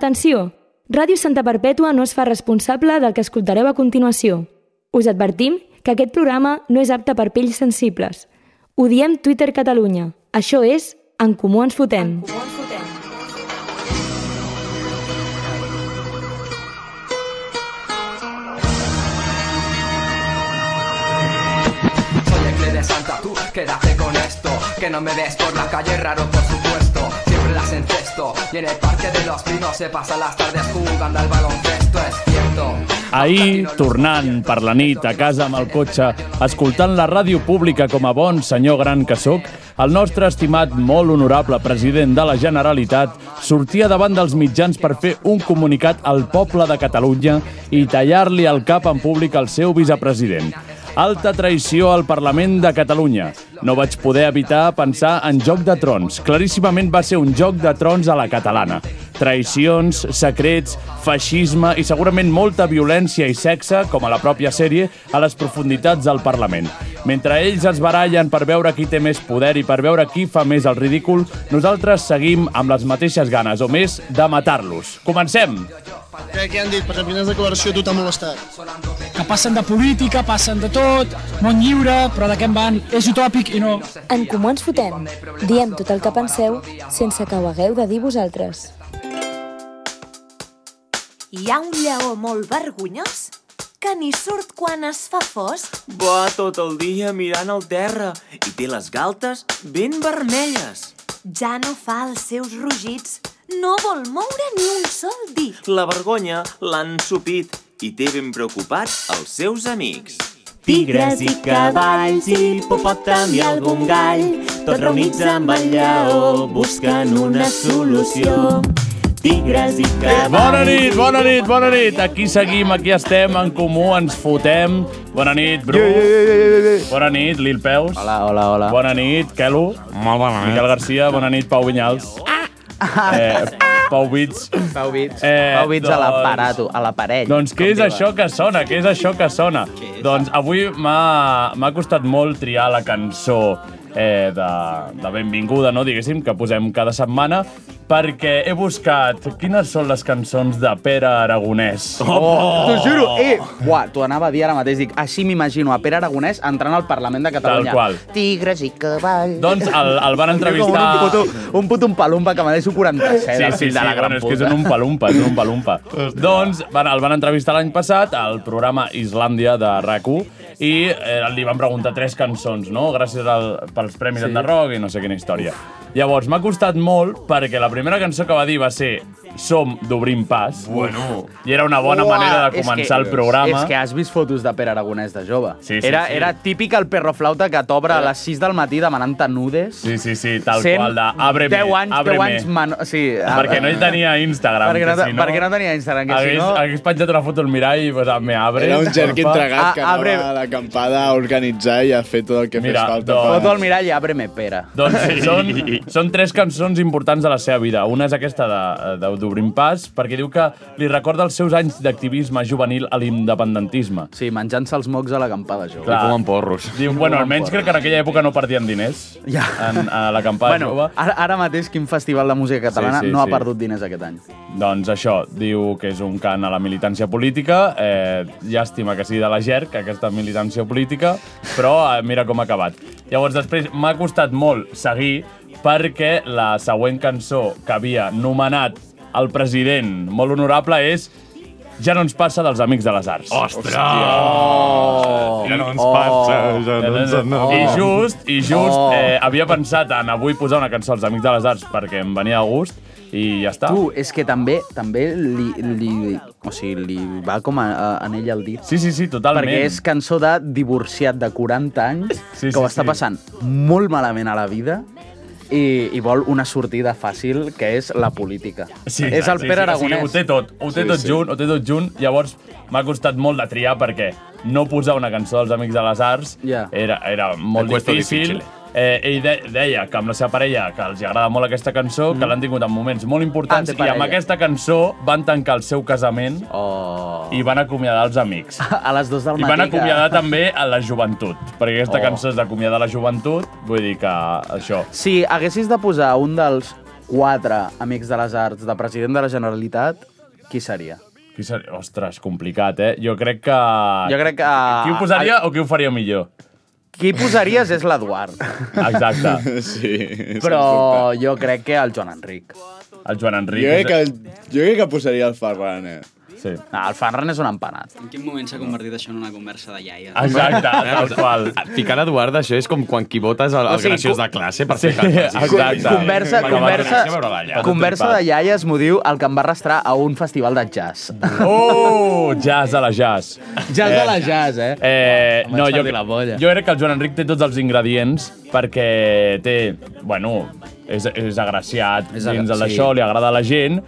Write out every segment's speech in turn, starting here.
Atenció! Ràdio Santa Perpètua no es fa responsable del que escoltareu a continuació. Us advertim que aquest programa no és apte per pells sensibles. Ho diem Twitter Catalunya. Això és En Comú Ens Fotem. Soy el clé de Santa, tú quédate con esto Que no me ves por la calle, raro por supuesto Siempre las encesto Y en el parque de los pinos se pasan las tardes jugando al baloncesto, es cierto Ahir, tornant per la nit a casa amb el cotxe, escoltant la ràdio pública com a bon senyor gran que sóc, el nostre estimat molt honorable president de la Generalitat sortia davant dels mitjans per fer un comunicat al poble de Catalunya i tallar-li el cap en públic al seu vicepresident. Alta traïció al Parlament de Catalunya. No vaig poder evitar pensar en Joc de Trons. Claríssimament va ser un Joc de Trons a la catalana. Traïcions, secrets, feixisme i segurament molta violència i sexe, com a la pròpia sèrie, a les profunditats del Parlament. Mentre ells es barallen per veure qui té més poder i per veure qui fa més el ridícul, nosaltres seguim amb les mateixes ganes, o més, de matar-los. Comencem! Què, què han dit? Per exemple, quines declaracions a tu t'ha molestat? que passen de política, passen de tot, món lliure, però de què en van? És utòpic i no. En Comú Ens Fotem. Diem tot el que penseu sense que ho hagueu de dir vosaltres. Hi ha un lleó molt vergonyós que ni surt quan es fa fosc. Va tot el dia mirant al terra i té les galtes ben vermelles. Ja no fa els seus rugits. No vol moure ni un sol dit. La vergonya l'han supit i té ben preocupats els seus amics. Tigres i cavalls i hipopòtam i algun gall, tots reunits amb el lleó, busquen una solució. Tigres i cavalls... Bona nit, bona nit, bona nit! Aquí seguim, aquí estem, en comú, ens fotem. Bona nit, Bru. Bona nit, Lil Peus. Hola, hola, hola. Bona nit, Kelo. Molt bona Miquel Garcia, bona nit, Pau Vinyals. Eh, Pau Bits. Ah. Pau Bits. Eh, Pau Bits doncs- a l'aparato, a l'aparell. Doncs què com és diuen. això que sona? Què és això que sona? Doncs avui m'ha m'ha costat molt triar la cançó eh, de, de benvinguda, no, diguéssim, que posem cada setmana, perquè he buscat quines són les cançons de Pere Aragonès. Oh! T'ho juro, eh! Buah, t'ho anava a dir ara mateix, dic, així m'imagino a Pere Aragonès entrant al Parlament de Catalunya. Tal qual. Tigres i cavalls. Doncs el, el van entrevistar... Un puto, un puto umpalumpa que me deixo 47, Sí, el sí, fill sí, de la gran bueno, és que és puta. un umpalumpa, és un umpalumpa. doncs van, el van entrevistar l'any passat al programa Islàndia de rac i eh, li van preguntar tres cançons, no? Gràcies al, pels Premis sí. Enderroc i no sé quina història. Llavors, m'ha costat molt perquè la primera cançó que va dir va ser Som d'Obrim Pas. Bueno. I era una bona Uah, manera de és començar que, el programa. És que has vist fotos de Pere Aragonès de jove. Sí, sí, era, sí. era típic el perro flauta que t'obre a les 6 del matí demanant-te nudes. Sí, sí, sí, tal Sent qual, de Ábreme, 10 anys, 10 ábreme. anys menor. Sí, Perquè no hi tenia Instagram. Perquè no que te- perquè no tenia Instagram, que si hagués, no- Hagués penjat una foto al mirall i posat, me abre. Era un jerk Ah, entregat que abre- anava a l'acampada a organitzar i a fer tot el que Mira, fes falta. doncs- Foto al mirall i àbreme, Pere. Doncs són, són tres cançons importants de la seva vida. Una és aquesta de- de- d'Obrim Pas, perquè diu que li recorda els seus anys d'activisme juvenil a l'independentisme. Sí, menjant-se els mocs a l'acampada, jo. Clar. fumant porros. Diu, bueno, almenys crec que en aquella època no perdien diners Ja. en, a la campada Bueno, jove. ara, ara mateix quin festival de música catalana Sí, sí, no ha sí. perdut diners aquest any? Doncs això, diu que és un cant a la militància política, eh, llàstima que sigui de la GERC, aquesta militància política, però eh, mira com ha acabat. Llavors, després m'ha costat molt seguir perquè la següent cançó que havia nomenat el president molt honorable és Ja no ens passa dels Amics de les Arts. Eh, Ostres! Oh. Ja no ens passa, ja doncs, eh, no ens en eh, I just, i just, Oh. eh, havia pensat en avui posar una cançó als Amics de les Arts perquè em venia a gust i ja està. Tu, Uh, és que també també li, li, o sigui, li va com a, a, en ell el dit. Sí, sí, sí, totalment. Perquè és cançó de divorciat de 40 anys Sí, que sí, ho està sí. passant molt malament a la vida i, i vol una sortida fàcil que és la política. és el Pere Aragonès. O sigui, ho té tot, ho té sí, Sí, tot sí. sí. junt, ho té tot junt. Llavors, m'ha costat molt de triar perquè no posar una cançó dels Amics de les Arts Ja. era, era molt Et cuesta difícil. difícil. Eh, ell de, deia que amb la seva parella que els hi agrada molt aquesta cançó, mm. que l'han tingut en moments molt importants, Ah, té i amb parella. aquesta cançó van tancar el seu casament Oh. Ah, i van acomiadar els amics. A les 2 del I matí. van que- acomiadar també a la joventut, perquè aquesta Oh. cançó és d'acomiadar la joventut, vull dir que això... Si haguessis de posar un dels quatre amics de les arts de president de la Generalitat, qui seria? Qui seria? Ostres, complicat, eh? Jo crec que... Jo crec que... Ah, Qui ho posaria o qui ho faria millor? Qui posaries és l'Eduard. Exacte. Sí. Però jo crec que el Joan Enric. El Joan Enric. Jo crec que, el- jo crec que posaria el Ferran, eh? Sí. No, Ah, el Ferran és un empanat. En quin moment s'ha convertit això en una conversa de iaia? Eh, tal qual. Ficar l'Eduard, això és com quan qui votes el, el O sigui, graciós co- de classe per fer cantar. Conversa, conversa, conversa de iaies m'ho diu el que em va arrastrar a un festival de jazz. Oh, jazz a la jazz. Jazz a la jazz, eh? eh Em vaig no, jo, partir la bolla. jo crec que el Joan Enric té tots els ingredients perquè té, bueno, és, és agraciat És és agra- dins sí. d'això, li agrada a la gent,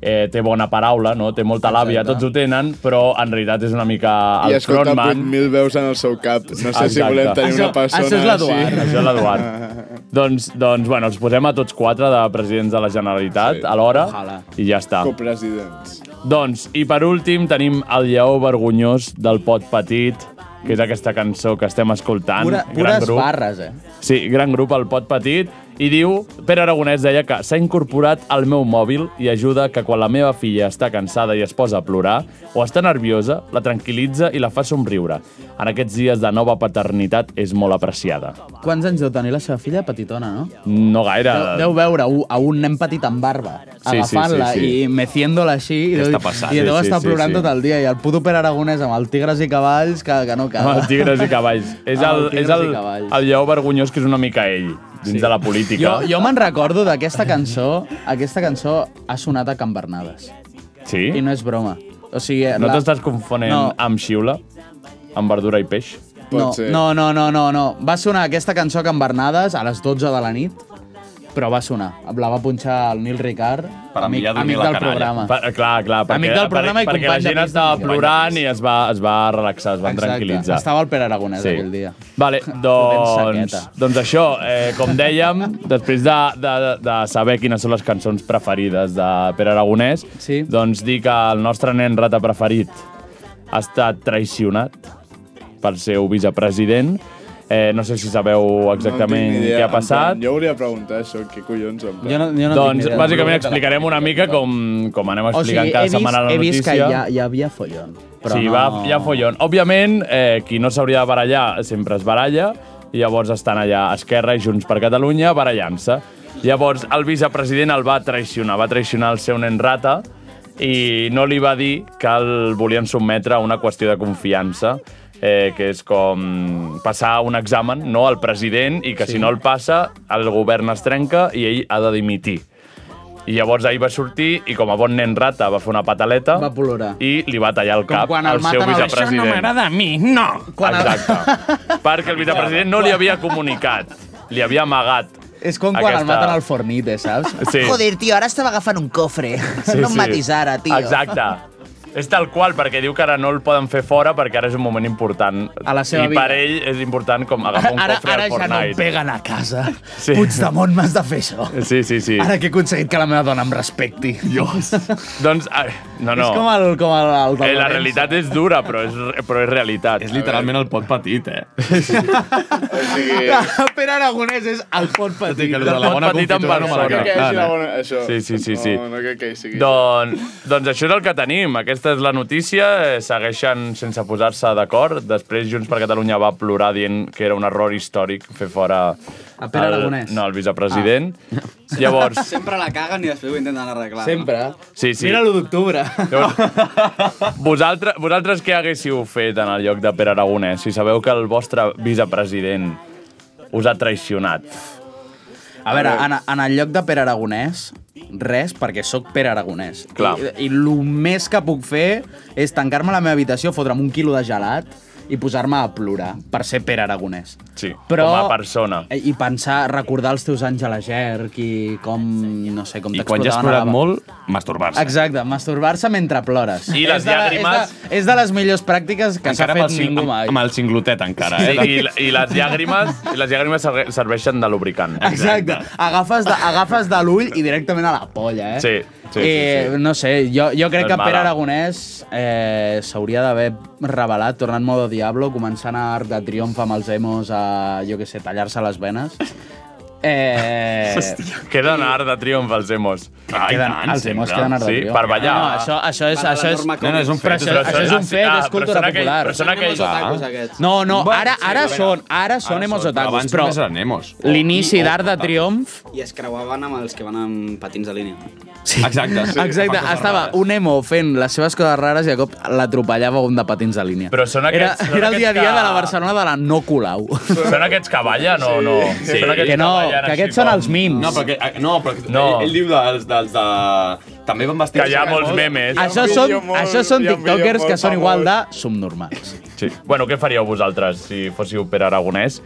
eh, té bona paraula, no? té molta làbia, tots ho tenen, però en realitat és una mica I el escolta frontman. 8.000 veus en el seu cap. No sé si Exacte. volem tenir Això- una persona això és l'Eduard. així. Això és l'Eduard. doncs, doncs, bueno, els posem a tots quatre de presidents de la Generalitat sí. alhora Ojalà. i ja està. Copresidents. Doncs, i per últim tenim el lleó vergonyós del pot petit, que és aquesta cançó que estem escoltant. Pura, pures barres, eh? Sí, gran grup, el pot petit. I diu, Pere Aragonès deia que s'ha incorporat al meu mòbil i ajuda que quan la meva filla està cansada i es posa a plorar o està nerviosa, la tranquil·litza i la fa somriure. En aquests dies de nova paternitat és molt apreciada. Quants anys deu tenir la seva filla petitona, no? No gaire... Deu, deu veure u- a un nen petit amb barba, Ah. sí, sí, agafant-la sí. i meciéndola així i Què deu, està passant? i deu Sí, sí, estar sí, plorant sí. tot el dia i el puto Pere Aragonès amb el Tigres i Cavalls que, que no acaba. Amb els tigres i cavalls. És Amb el, els és tigres el, i cavalls. el lleó vergonyós que és una mica ell, dins sí. de la política. Jo, jo me'n recordo d'aquesta cançó, aquesta cançó ha sonat a Can Bernades. Sí? I no és broma. O sigui, No t'estàs confonent no. No. amb xiula? Amb verdura i peix? No, no, no, no, no, no. Va sonar aquesta cançó a Can Bernades a les 12 de la nit, però va sonar. La va punxar el Nil Ricard, Per amic, enviar a dormir amic la del canalla. programa. Per, clar, clar. Perquè, Amic del programa i perquè, perquè la company de gent pis estava de plorant i es va, es va relaxar, es van Exacte. tranquil·litzar. Estava el Pere Aragonès aquell dia. Vale, Ben doncs, saqueta. doncs això, eh, com dèiem, després de, de, de saber quines són les cançons preferides de Pere Aragonès, sí. doncs dir que el nostre nen rata preferit ha estat traicionat pel seu vicepresident. Eh, no sé si sabeu exactament tinc ni idea, què ha en passat. plan, Jo volia preguntar això, què collons? en plan. doncs, bàsicament, explicarem una mica com, com anem explicant cada setmana la notícia. he vist que hi, ha, hi havia follon. Però sí, no... va, hi ha follon. Òbviament, eh, qui no s'hauria de barallar sempre es baralla, i llavors estan allà Esquerra i Junts per Catalunya barallant-se. Llavors, el vicepresident el va traicionar, va traicionar el seu nen rata i no li va dir que el volien sotmetre a una qüestió de confiança, eh, que és com passar un examen no al president i que sí. si no el passa el govern es trenca i ell ha de dimitir. I llavors ahir va sortir i com a bon nen rata va fer una pataleta Va plorar. i li va tallar el cap quan el al seu maten a la- vicepresident. Això no m'agrada a mi, no! Quan el- Exacte. Perquè el vicepresident no li havia comunicat, li havia amagat. És com quan el maten al fornite, saps? Sí. Joder, tio, ara estava agafant un cofre. Sí, no em matis ara, tio. Exacte. És tal qual, perquè diu que ara no el poden fer fora perquè ara és un moment important. A la seva I vida. per ell és important com agafar un Ara, cofre ara al ja no Fortnite. em peguen a casa. Sí. Sí. Puigdemont, m'has de fer això. Sí, sí, sí. Ara que he aconseguit que la meva dona em respecti. Dios. doncs, ai, no, no. És com el... Com el, el Eh, la realitat és dura, però és, però és realitat. És literalment el pot petit, eh? Pere Aragonès és el pot petit. que lo de la bona confitura no me No l'ha crec que hi Ah, hagi la cantat, bona... Això. Sí, sí, sí, sí. No, no crec que hi sigui. Doncs, doncs això és el que tenim. Aquesta és la notícia. Eh, Segueixen sense posar-se d'acord. Després Junts per Catalunya va plorar dient que era un error històric fer fora... A Pere el, Aragonès. No, el vicepresident. Ah. Llavors, Sempre la caguen i després ho intenten arreglar. Sí, sí. Mira l'1 d'octubre. Vosaltres, vosaltres què haguéssiu fet en el lloc de Pere Aragonès si sabeu que el vostre vicepresident us ha traicionat? A veure, en, en el lloc de Pere Aragonès, res, perquè sóc Pere Aragonès. Clar. I, i el més que puc fer és tancar-me a la meva habitació, fotre'm un quilo de gelat i posar-me a plorar per ser Pere Aragonès. Sí, Però- Eh, com a persona. I pensar, recordar els teus anys a la GERC i com, no sé, com I quan ja has t'explotaven a plorat la- molt, masturbar-se. Exacte, masturbar-se mentre plores. I les És de la- llàgrimes- És de, és de les millors pràctiques que s'ha Encara amb el, fet cing, ningú mai. amb el cinglotet, encara, Sí, eh? i, I les llàgrimes, i les llàgrimes serve- serveixen de lubricant. Exacte. Agafes de, agafes de l'ull i directament a la polla, eh? Sí, sí, eh, sí, sí. No sé, jo, jo No és crec que Pere mala. Aragonès eh, s'hauria d'haver revelat, tornant modo Diablo, començant a Arc de Triomf amb els emos a, jo què sé, tallar-se les venes. Eh... Hòstia. Queda un art de triomf als emos. Ah, Queden- els emos queden art de sí, triomf. per ballar. No, no, això- això és- Per la això és- norma no, no, és un Però fet, això- això és un ah, sí, fet, ah, és però cultura són aquells- popular. Però són aquells... Són els otakus, aquests. No, no, ara- ara són- ara són emos otakus, Abans però només eren emos. Oh, l'inici d'Art de Triomf... I es creuaven amb els que van amb patins de línia. Sí. Exacte. Sí, Exacte, fan coses estava rares. un emo fent les seves coses rares i de cop l'atropellava un de patins de línia. Però són era, aquests- són era el dia aquests a dia que- de la Barcelona de la no Colau. Són aquests que ballen o no? Sí. Que no, que aquests són els mims. No, perquè, eh, no, perquè no. No. Ell, ell diu dels, dels de... També van vestir... Això són, això són tiktokers que són igual de subnormals. Sí. Bueno, què faríeu vosaltres si fóssiu Pere Aragonès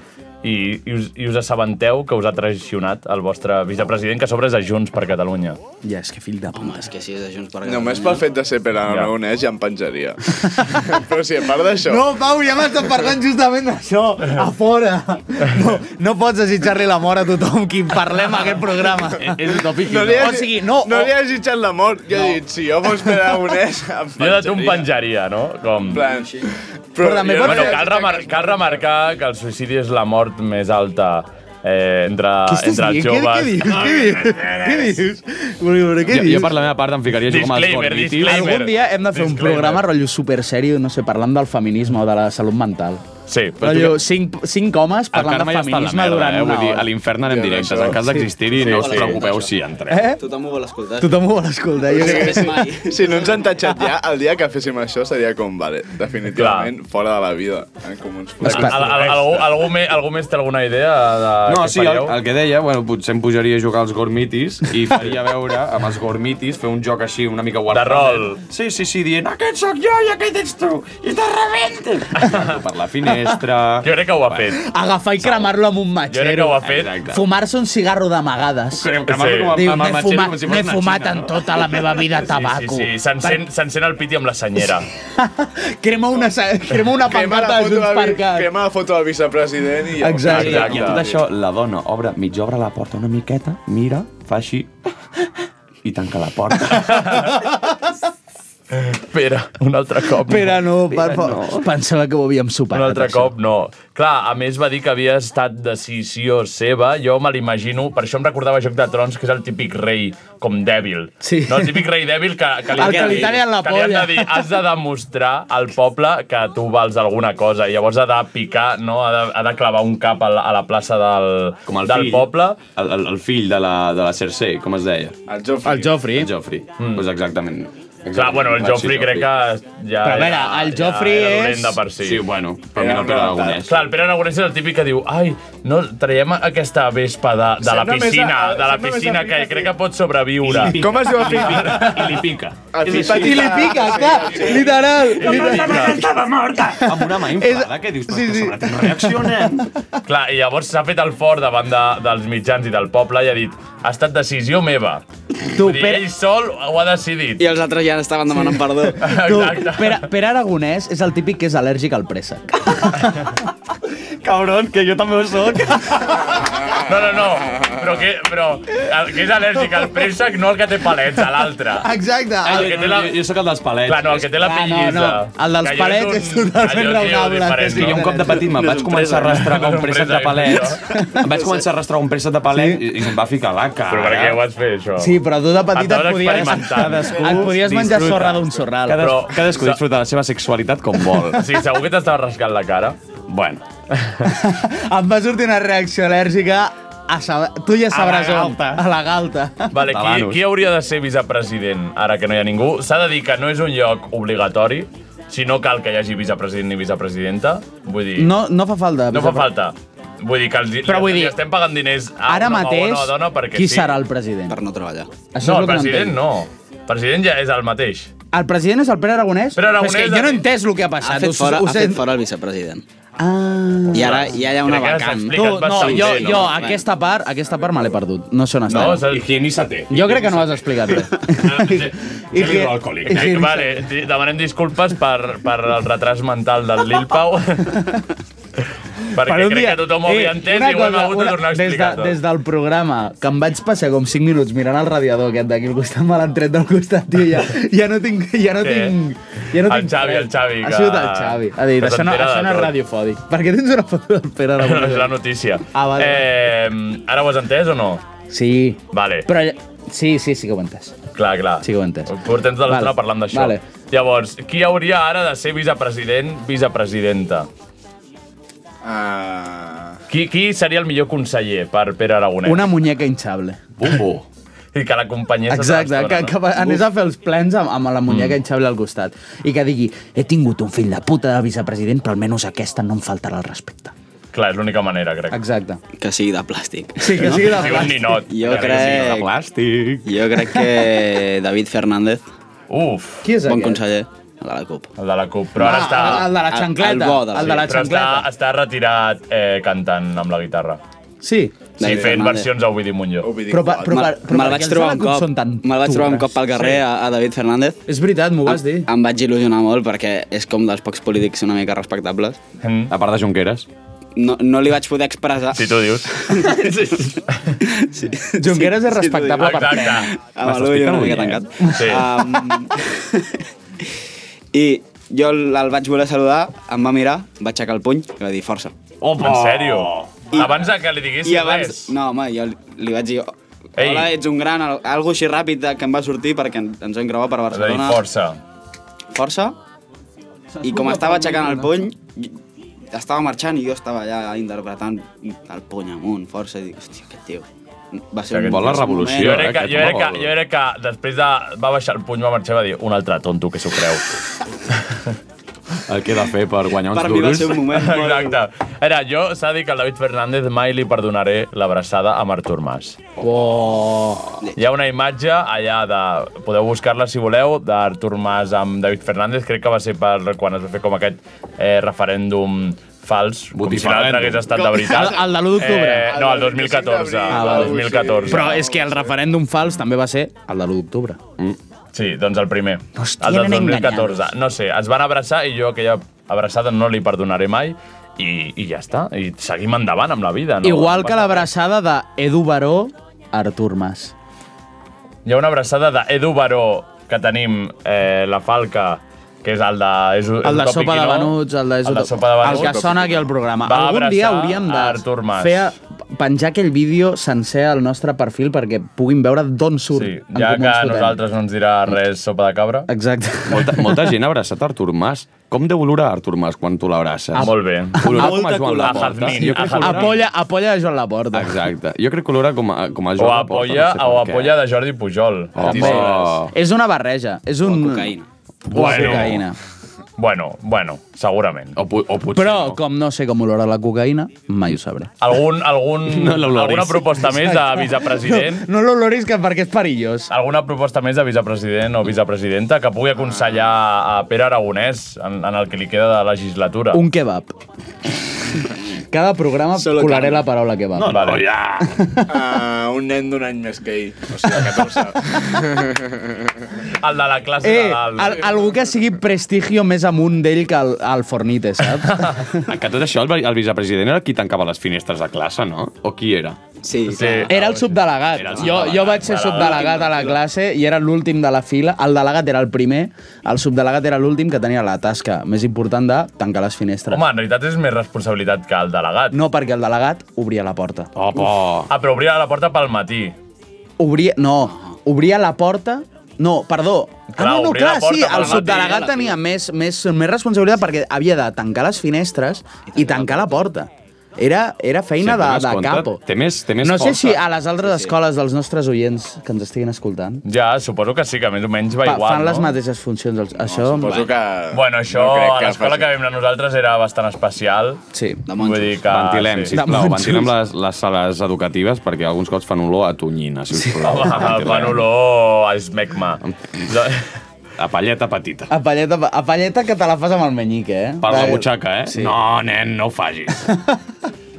i, i, us, i us assabenteu que us ha traicionat el vostre vicepresident, que a sobre és de Junts per Catalunya? Ja, és que fill de puta. Home, és que si és de Junts per Només pel fet de ser Pere Aragonès ja em penjaria. Però si a part d'això... No, Pau, ja m'estan parlant justament d'això, a fora. No, no pots desitjar-li la mort a tothom qui parlem a aquest programa. És utòpic. No li has, O sigui, no, no o- li has ditjat la mort. Jo he dit, si jo fos Pere Aragonès, em Jo de tu em penjaria, no? Com... En plan... Però, també jo- bueno, cal, remar cal remarcar que el suïcidi és la mort més alta eh, entre, Ah, entre els joves. Ah, Què dius? Què Jo, jo per la meva part em ficaria així com els gormitis. Algun dia hem de fer un programa rotllo super sèrio, no sé, parlant del feminisme o de la salut mental. Sí. però tu Rotllo, que- cinc, cinc El homes parlant Carme de ja està a la feminisme merda, durant eh? una Vull dir, hora. a l'infern anem directes. En cas d'existir-hi, no us preocupeu si entrem. Eh? Tothom ho vol escoltar. Tothom ho vol escoltar. Jo Jo crec crec que si, si no ens han tatxat ja, el dia que féssim això seria com, vale, definitivament fora de la vida. Eh, com uns Al, al, al, algú, algú, més, algú més té alguna idea de No, què sí, el, faríeu? el que deia, bueno, potser em pujaria a jugar als gormitis i faria veure amb els gormitis fer un joc així una mica Warhammer. rol. Sí, sí, sí, dient aquest sóc jo i aquest ets tu i te rebenten. per la finestra... Jo crec que ho ha fet. Agafar i cremar-lo amb un Jo crec matxero. que ho ha fet. Fumar-se un cigarro d'amagades. Creu que cremar-lo com a- Diu, amb el "N'he matxero, fuma- com si fos N'he una fumat xina, en no?" tota la meva vida Sí, tabaco. sí, s'encén s'encén el piti amb la senyera. Crema una, sa- crema una pancarta de Junts per Cat. Crema la foto del vicepresident i... eh, I amb tot això, la dona obre, mig obre la porta una miqueta, mira, fa així i tanca la porta. Pere, un altre cop. Pere, no, per favor. Pensava que ho havíem Un superat. altre això. cop no. Clar, a més va dir que havia estat decisió seva, jo me l'imagino, per això em recordava Joc de Trons, que és el típic rei com dèbil. Sí. No, el típic rei dèbil que, que li, El que li tallen la que li han polla. de dir, has de demostrar al poble que tu vals alguna cosa, i llavors ha de picar, no? ha, de, ha de clavar un cap a la, a la plaça del, Com el del fill, poble. El, el, el fill de la, de la Cersei, com es deia? El Joffrey. El Joffrey. El Joffrey, mm. pues exactament. Clar, bueno, Ah, el Joffrey crec que ja... Però a veure, era- el Joffrey ja era és- dolent de per si. Sí, bueno, però mira el Pere Aragonès. Clar, el Pere Aragonès és el típic que diu ai, no, traiem aquesta vespa de, de la Sembla més piscina, a- de la sembla més piscina, a- que crec que pot sobreviure. I li pica. Com es diu el fill? I li pica. El fill I li pica, clar, literal. literal. estava morta! Amb una mà inflada, que dius, però sí, sí. sobre tens reaccionem. Clar, i llavors s'ha fet el fort davant de, dels mitjans i del poble i ha dit ha estat decisió meva. Tu, dir, Ell sol ho ha decidit. I els altres ja estaven demanant sí. perdó. Tu, Pere, Pere Aragonès és el típic que és al·lèrgic al préssec. Cabron, que jo també ho soc. No, no, no, però que, però el que és al·lèrgic al préssec no el que té palets, a l'altre. Exacte. El que té la... Jo sóc el dels palets. Clar, no, el que té la Clar, Ah, no, pellissa. no, el dels Que allò palets és un- totalment allò sí, raonable, diferent, Sí, jo un no? cop de petit me'n vaig començar a rastregar un préssec de palets. Em vaig començar a rastregar un préssec de palets i, i em va ficar la cara. Però per què ho vas fer, això? Sí, però tu de petit et Adoro podies, experimentar. et podies menjar Disfruta. sorra d'un sorral. Cades, però... Cadascú disfruta de la seva sexualitat com vol. Sí, segur que t'estava rascant la cara. Bueno. Em va sortir una reacció al·lèrgica a saber... Tu ja A la sabràs on. galta. A la galta. Vale, qui, qui hauria de ser vicepresident, ara que no hi ha ningú? S'ha de dir que no és un lloc obligatori, si no cal que hi hagi vicepresident ni vicepresidenta. Vull dir, No, no fa falta. no fa falta. Vull dir que els, Però vull li dir, estem pagant diners a Ara una mateix, bona dona perquè qui sí. serà el president? Per no treballar. Això No, el és el que no president entenc. no. El president ja és el mateix. El president és el Pere Aragonès? Pere Però És Aragonès que jo ha no he dit- entès el que ha Ha passat. fet, Us- fora, us ha he- fet fora el vicepresident. Ah. I ara hi ha una Crec que vacant. s'ha explicat Tu, no, bastant jo- bé, no? jo aquesta part, aquesta part me l'he perdut. No sé on està. higieniza't. Jo crec que no ho has explicat bé. I Ah, que... alcohòlic. eh? i que- Vale, di- demanem disculpes per, per el retras mental del Lil Pau. Perquè Per un crec dia- que tothom ho havia Eh, entès una i ho hem cosa, hagut de una- tornar a des explicar de- tot. Des del programa, que em vaig passar com 5 minuts mirant el radiador aquest d'aquí al costat, me l'han tret del costat, tio, ja, ja no tinc... Ja no Què? tinc ja no El tinc Xavi, el Xavi, Ha que- sigut el Xavi. Ha dit, que això no, s'entera de això no és tot." radiofòdic. Per què tens una foto del Pere No és Aragonès? la notícia. Ah, vale. Eh, ara ho has entès o no? Sí. Vale. Però sí, sí, sí que ho he entès. Clar, clar. Sí que ho he entès. Portem tota l'estona Vale. parlant d'això. Vale. Llavors, qui hauria ara de ser vicepresident, vicepresidenta? Uh... Qui, qui seria el millor conseller per Pere Aragonès? Una muñeca hinchable. Bumbo. I que l'acompanyés tota Exacte, que, l'estona, que no? anés a fer els plens amb, amb la muñeca mm. hinchable al costat. I que digui, he tingut un fill de puta de vicepresident, però almenys aquesta no em faltarà el respecte. Clar, és l'única manera, crec. Exacte. Que sigui de plàstic. Sí, que sigui de Que sigui un plàstic. ninot. Jo Que sigui crec... de plàstic. Jo crec que David Fernández. Uf. Qui és Bon aquest? conseller. El de la CUP. El de la CUP, Però ara està... Ah, el de la xancleta, El, bo de la, el de la Però està, està retirat eh, cantant amb la guitarra. Sí, Sí. David fent Fernández. versions a Ovidi Montlló. Però pa- però per- me'l però perquè vaig els trobar un de la CUP cop, són tan me'l vaig trobar un cop pel turres. carrer Sí. a, a David Fernández. És veritat, m'ho vas dir. Em, em vaig il·lusionar molt perquè és com dels pocs polítics una mica respectables. Mm. A part de Junqueras. No, no li vaig poder expressar... Si tu dius. sí. Ah, Junqueras és tu dius. respectable per Exacte. fer. Amb l'ull una mica tancat. Ah. Sí. Um, I jo el vaig voler saludar, em va mirar, va aixecar el puny i va dir força. Opa! En sèrio? Abans de que li diguessis res. No, home, jo li- li vaig dir... Ei. Hola, ets un gran... al- Algo així ràpid que em va sortir perquè en- ens vam creuar per Va dir, Barcelona. força. Força. I com estava aixecant el puny, estava marxant i jo estava allà interpretant el puny amunt, força, i dic, hòstia, aquest tio. Va ser un... eh, Vol la va ser un revolució, moment. jo crec, que, jo, crec que, jo crec que després de... Va baixar el puny, va marxar i va dir un altre tonto que s'ho creu. El que he de fer per guanyar uns Per mi va duros. ser un moment Exacte. Era, jo s'ha dit que el David Fernández mai li perdonaré l'abraçada amb Artur Mas. Ah. Oh. Hi ha una imatge allà de... Podeu buscar-la si voleu, d'Artur Mas amb David Fernández. Crec que va ser per quan es va fer com aquest eh, referèndum fals, com si l'altre Botifarràndum. hagués estat de veritat. El- el de l'u d'octubre. Eh, no, el 2014. el 2014. Però és que el referèndum fals també va ser el de l'1 d'octubre. Sí, doncs el primer. Hòstia, el del anem 2014. No sé, ens van abraçar i jo aquella abraçada no li perdonaré mai i, i ja està. I seguim endavant amb la vida. No? Igual que la... l'abraçada d'Edu Baró, Artur Mas. Hi ha una abraçada d'Edu Baró que tenim eh, la Falca, que és el de... És, El de sopa de venuts, el de, el de sopa de venuts. el que sona aquí al programa. Va Algun dia abraçar hauríem a de Artur Mas. fer eh, penjar aquell vídeo sencer al nostre perfil perquè puguin veure d'on surt. Sí, Ja que a nosaltres no ens dirà res sopa de cabra. Exacte. Molta, molta gent ha abraçat Artur Mas. Com deu olorar Artur Mas quan tu l'abraces? Ah, molt bé. Olora com a Molta Joan color. Laporta. A Jazmín, a olora- Apolla, apolla de Joan Laporta. Exacte. Jo crec que olora com a, com a O Joan Laporta. no apoya, sé o per què. apoya de Jordi Pujol. Home. És una barreja. És un... O cocaïna. O cocaïna. Bueno, bueno, segurament. O, o potser Però, com no sé com olora la cocaïna, mai ho sabré. Algun, algun, No l'oloris. alguna proposta més de vicepresident? No, no l'oloris que perquè és perillós. Alguna proposta més de vicepresident o vicepresidenta que pugui aconsellar a Pere Aragonès en, en el que li queda de legislatura? Un kebab. Cada programa Solo colaré carne. la paraula kebab. No, no, Vale. ja. Uh, un nen d'un any més que ell, o sigui, de 14. El de la classe Eh, al, algú que sigui prestigio més amunt d'ell que el, el Fornite, saps? Que tot això, el, vi- el vicepresident era qui tancava les finestres de classe, no? O qui era? Sí. Era el subdelegat. Era el Jo, jo vaig ser subdelegat a la classe i era l'últim de la fila. El delegat era el primer, el subdelegat era l'últim que tenia la tasca més important de tancar les finestres. Home, en realitat és més responsabilitat que el delegat. No, perquè el delegat obria la porta. Ah, però obria la porta pel matí. Obria, no, obria la porta... No, perdó. Clar, ah, no, no, obria la clar, porta sí, per el la subdelegat tele. tenia més, més, més responsabilitat perquè havia de tancar les finestres i tancar la porta. Era, era feina Si et de, dones de compte, capo. Té més, té més no sé força. si a les altres escoles dels nostres oients que ens estiguin escoltant Ja, suposo que sí, que més o menys va fa- igual, fan no? les mateixes funcions. els- Això... Bueno, això, no crec a que l'escola faci. que vam anar nosaltres era bastant especial. Sí. Vull dir que... Ventilem, Ah, sí. sisplau, De monjos. ventilem les, les sales educatives perquè alguns cops fan olor a tonyina, sisplau. Home, fan olor a esmecma. A palleta petita. A palleta, a palleta que te la fas amb el menyic, eh? Per la Perquè- butxaca, eh? Sí. No, nen, no ho facis.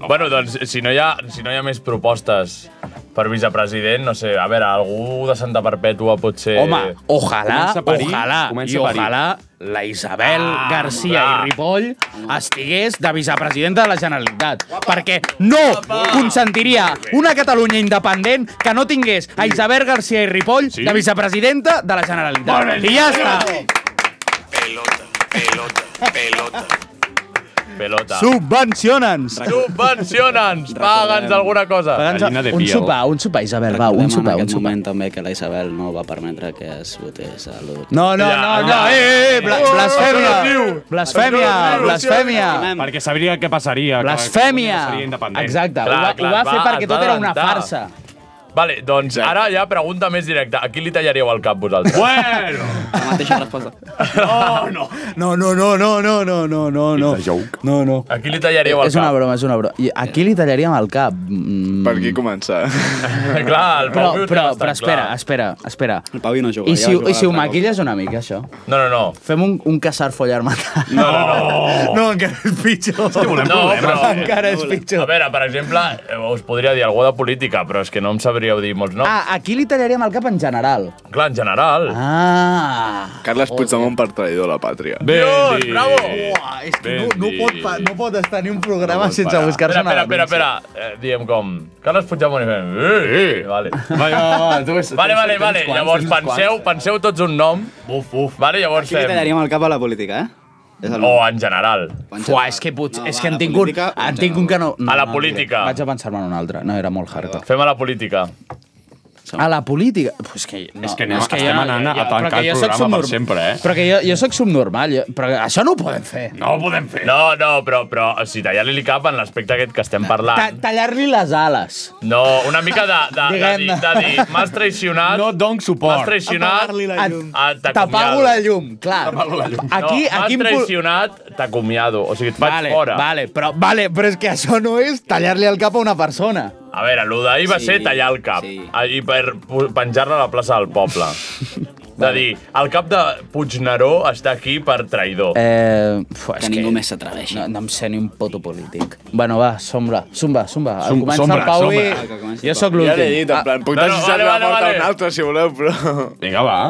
Bueno, doncs, si no hi ha, si no hi ha més propostes per vicepresident, no sé, a veure, algú de Santa Perpètua potser... Home, ojalà, ojalà, i ojalà la Isabel ah, Garcia clar. i Ripoll estigués de vicepresidenta de la Generalitat. Perquè no consentiria una Catalunya independent que no tingués a Isabel Garcia i Ripoll de vicepresidenta de la Generalitat. Molt bé. I ja està. Pelota, pelota. Pelota. Subvenciona'ns. Subvenciona'ns! Paga'ns alguna cosa. Un sopar, un sopar, Isabel, va, Recordem un sopar, en un aquest sopar. moment també que la Isabel no va permetre que es votés a l'1 No, no, no, no, eh, eh, eh, bla- Oh, blasfèmia, blasfèmia, Ah, blasfèmia. Perquè sabria què passaria. que Blasfèmia. Catalunya Seria independent. Exacte, ho va- ho va fer perquè tot era una farsa. Vale, doncs ara ja pregunta més directa. A qui li tallaríeu el cap vosaltres? Bueno! La mateixa resposta. Oh, no! No, no, no, no, no, no, no, no, no. No, no. A qui li tallaríeu el És una cap? broma, és una broma. I aquí li tallaríem el cap. Mm. Per aquí començar. Clar, el Però, Pau Viu té però, bastant però espera, clar. espera, espera. El Pavi no juga. I ja si, va jugar i si l'altre ho cop. maquilles una mica, això? No, no, no. Fem un, un casar follar matar. No, no, no. No, encara és pitjor. És no, però... Encara és pitjor. A veure, per exemple, eh, us podria dir algú de política, però és que no em sabríeu dir molts noms. Ah, aquí li tallaríem el cap en general. Clar, en general. Ah. Carles Puigdemont per traïdor a la pàtria. Ben Dios, dit. bravo! Uah, és que no- no pot pa- no pot estar ni un programa no sense Espera, espera, espera, espera. Eh, diem com... Carles Puigdemont i fem... Eh, eh, vale. Va, va, va, tu és- vale, vale, tens vale. quants, llavors tens penseu, quants? penseu tots un nom. Uf, uf. Vale, llavors Aquí li fem... tallaríem el cap a la política, eh? És el... O en general. Uah, és que, potser, és que en tinc un, en tinc un que no... no A la no, política. Vaig a pensar-me en un altre. No, era molt eh, hardcore. Fem a la política. A la política? Pues és que, no, És que anem- no, estem anant a però tancar que el jo soc programa per subnorm- sempre, eh? Però que jo, jo soc subnormal, jo, però això no ho podem fer. No ho podem fer. No, no, però, però o sigui, tallar-li el cap en l'aspecte aquest que estem Ta parlant. Tallar-li les ales. No, una mica de, de, de, Diguem-ne. dir, de dir, m'has traicionat, no donc m'has traicionat, ah, T'apago t'acomiado. la llum, clar. no, Aquí, aquí em m'has pul- traicionat, t'acomiado. O sigui, et faig Vale, fora. vale, però, vale, però és que això no és tallar-li el cap a una persona. A veure, el d'ahir va Sí, sí, ser tallar el cap. Sí. I per pu- penjar-la a la plaça del poble. de dir, el cap de Puigneró està aquí per traïdor. Eh, fu, és que ningú més s'atreveixi. No, no em sé ni un poto polític. Bueno, va, sombra, zumba, zumba. Som- Comença sombra, el Pau Ah, sombra. i... Jo sóc Ja l'he dit, l'últim. Ah, en plan, puc no, no, vale, vale, vale. un altre, si voleu, però... Vinga, va.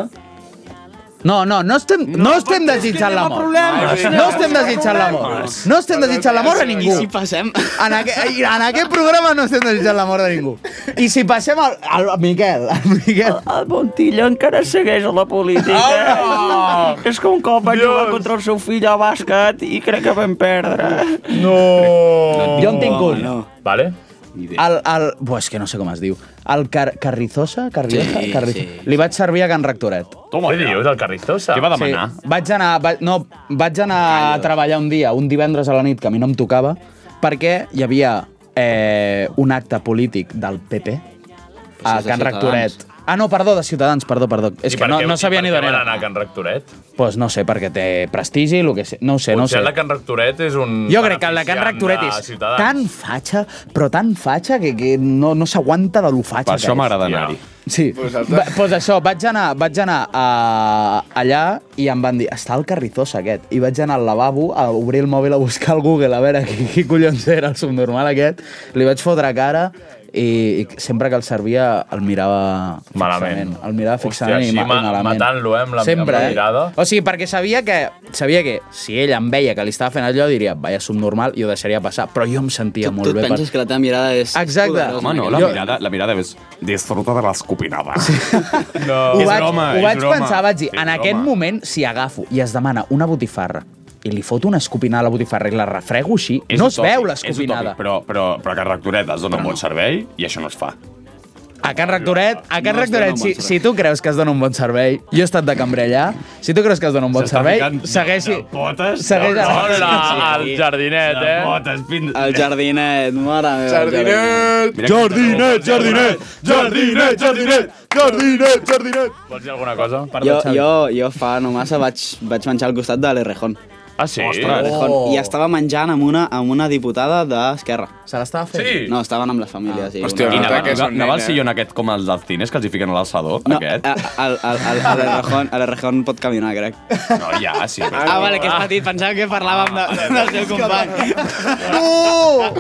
No, no, no estem, no estem desitjant anem a l'amor. problemes. No estem desitjant l'amor. No estem desitjant l'amor a ningú. I si passem... En, aqu en aquest programa no estem desitjant la mort de ningú. I si passem al, al Miquel, al Miquel... El Montilla encara segueix a la política. Ah, És que un cop vaig jugar contra el seu fill a bàsquet i crec que vam perdre. No! Jo en tinc un. Vale? El, el, buah, és que no sé com es diu. El Car Carrizosa? Carrizosa? Sí, Carri... sí. Li vaig servir a Can Rectoret. Toma, Què dius, el Carrizosa? Què Sí, vaig anar, va, no, vaig anar a treballar un dia, un divendres a la nit, que a mi no em tocava, perquè hi havia eh, un acte polític del PP és a de Can Rectoret. Ciutadans. Ah, no, perdó, de Ciutadans, perdó, perdó. És que no, no sabia ni d'on era. I per què d'on van era. anar a Can Rectoret? Pues no sé, perquè té prestigi, lo que sé. no ho sé, Potser no ho sé. la Can Rectoret és un... Jo crec que la Can Rectoret és tan fatxa, però tan fatxa, que, que no, no s'aguanta de lo fatxa Per que això és. m'agrada anar-hi. Sí. Va, pues això, vaig anar, vaig anar a, allà i em van dir està el carrizosa aquest. I vaig anar al lavabo a obrir el mòbil a buscar al Google a veure qui, qui collons era el subnormal aquest. Li vaig fotre cara i, i sempre que el servia el mirava Malament. fixament. El mirava fixament Hòstia, així i, ma ma- i malament. matant-lo, eh, amb la- amb sempre, la mirada. Eh? O sigui, perquè sabia que, sabia que si ell em veia que li estava fent allò, diria, vaya subnormal, i ho deixaria passar. Però jo em sentia molt Tu et bé. penses que la teva mirada és... Exacte. poderosa, Home, no, Miquel? la Jo- mirada, la mirada és disfruta de les copinades. No. ho vaig, ho vaig pensar, vaig dir, en aquest moment, si agafo i es demana una botifarra i li foto una escopinada a la botifarra i la refrego així, no es veu l'escopinada. Però, però, però que Rectoret es dona un bon servei i això no es fa. A Can Rectoret, a Can No es dona Rectoret, un si, bon si tu creus que es dona un bon servei, jo he estat de cambrer allà, si tu creus que es dona un bon servei, segueixi... Potes? Segueix No, a- no, la- el jardinet, eh? Potes, pin... El jardinet, mare meva. Jardinet! Jardinet, jardinet, jardinet, jardinet, jardinet, jardinet. Vols dir alguna cosa? Jo, jo, jo fa no massa vaig, vaig menjar al costat de l'Errejón. Ah, sí? Ostres. Oh. I estava menjant amb una, amb una diputada d'Esquerra. Se l'estava fent? Sí. No, estaven amb les famílies. Ah. Sí, Hòstia, I una... anava, anava, anava al sillón aquest com els dels cines que els hi fiquen a l'alçador, no. aquest? A, al, al, al, a l'Arrejón, a l'Arrejón pot caminar, crec. No, ja, sí. Ah, vale, que és petit, pensava que parlàvem de, del seu company. No!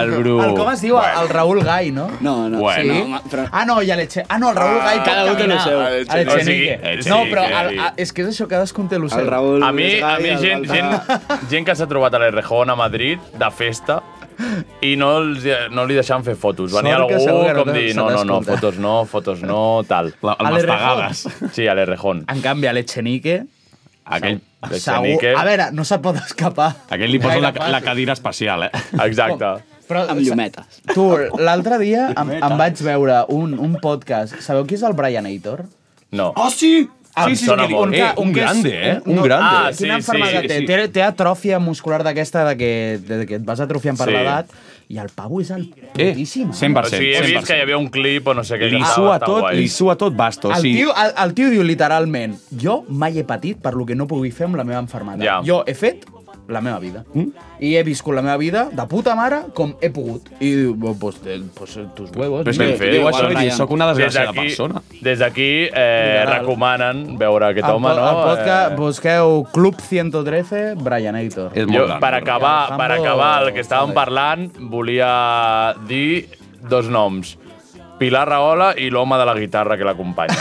El Bru... El, com es diu? El Raül Gai, no? No, no. Bueno. Sí? Ah, no, i Aleche... Ah, no, el Raül Gai pot cada un té el caminar. seu. El Echenique. O sigui, No, però el, Echenique. a, és que és això, cadascun té el seu. a mi, a mi gent, gent, gent que s'ha trobat a l'Errejón a Madrid de festa i no, els, no li deixaven fer fotos. Venia Sort que algú segur que no com dir, se no, no, no, t'escolta. fotos no, fotos no, tal. La, el A l'Errejón. Mastagades. Sí, a l'Errejón. En canvi, a l'Echenique... Aquell de Segur. Xenique. A veure, no se'n pot escapar. Aquest li poso Gaire la, fàcil. la cadira espacial, eh? Exacte. Però, Amb llumetes. Tu, l'altre dia em, em vaig veure un, un podcast. Sabeu qui és el Brian Aitor? Ah, No. Oh, sí! Em Sí, sí, sí, sona que- molt. eh, un que és- grande, eh? Un no, grande. Ah, Ah, quina sí, sí, enfermedad sí, té? sí. Té, té atròfia muscular d'aquesta de que, de que et vas atrofiant per Sí. l'edat. I el pavo és el putíssim. Eh, O sigui, he vist que hi havia un clip o no sé què. que Li estava sua tan tot, guai. li sua tot basto. El sí. tio, el, el tio diu literalment jo mai he patit per lo que no pugui fer amb la meva enfermedad. Ja. Jo he fet la meva vida. Mm? I he viscut la meva vida de puta mare com he pogut. I diu, "Bo, pues, eh, pues eh, tus huevos. Però és ben no?" fet. Diu Igual, això i Brian. diu, "Soc una Des desgraciada d'aquí- persona." Des d'aquí eh, Literal. recomanen veure aquest Al home, po- no? al podcast Eh, busqueu Club 113 Brian Aitor. jo, per acabar, per acabar el que estàvem parlant, volia dir dos noms. Pilar Rahola i l'home de la guitarra que l'acompanya.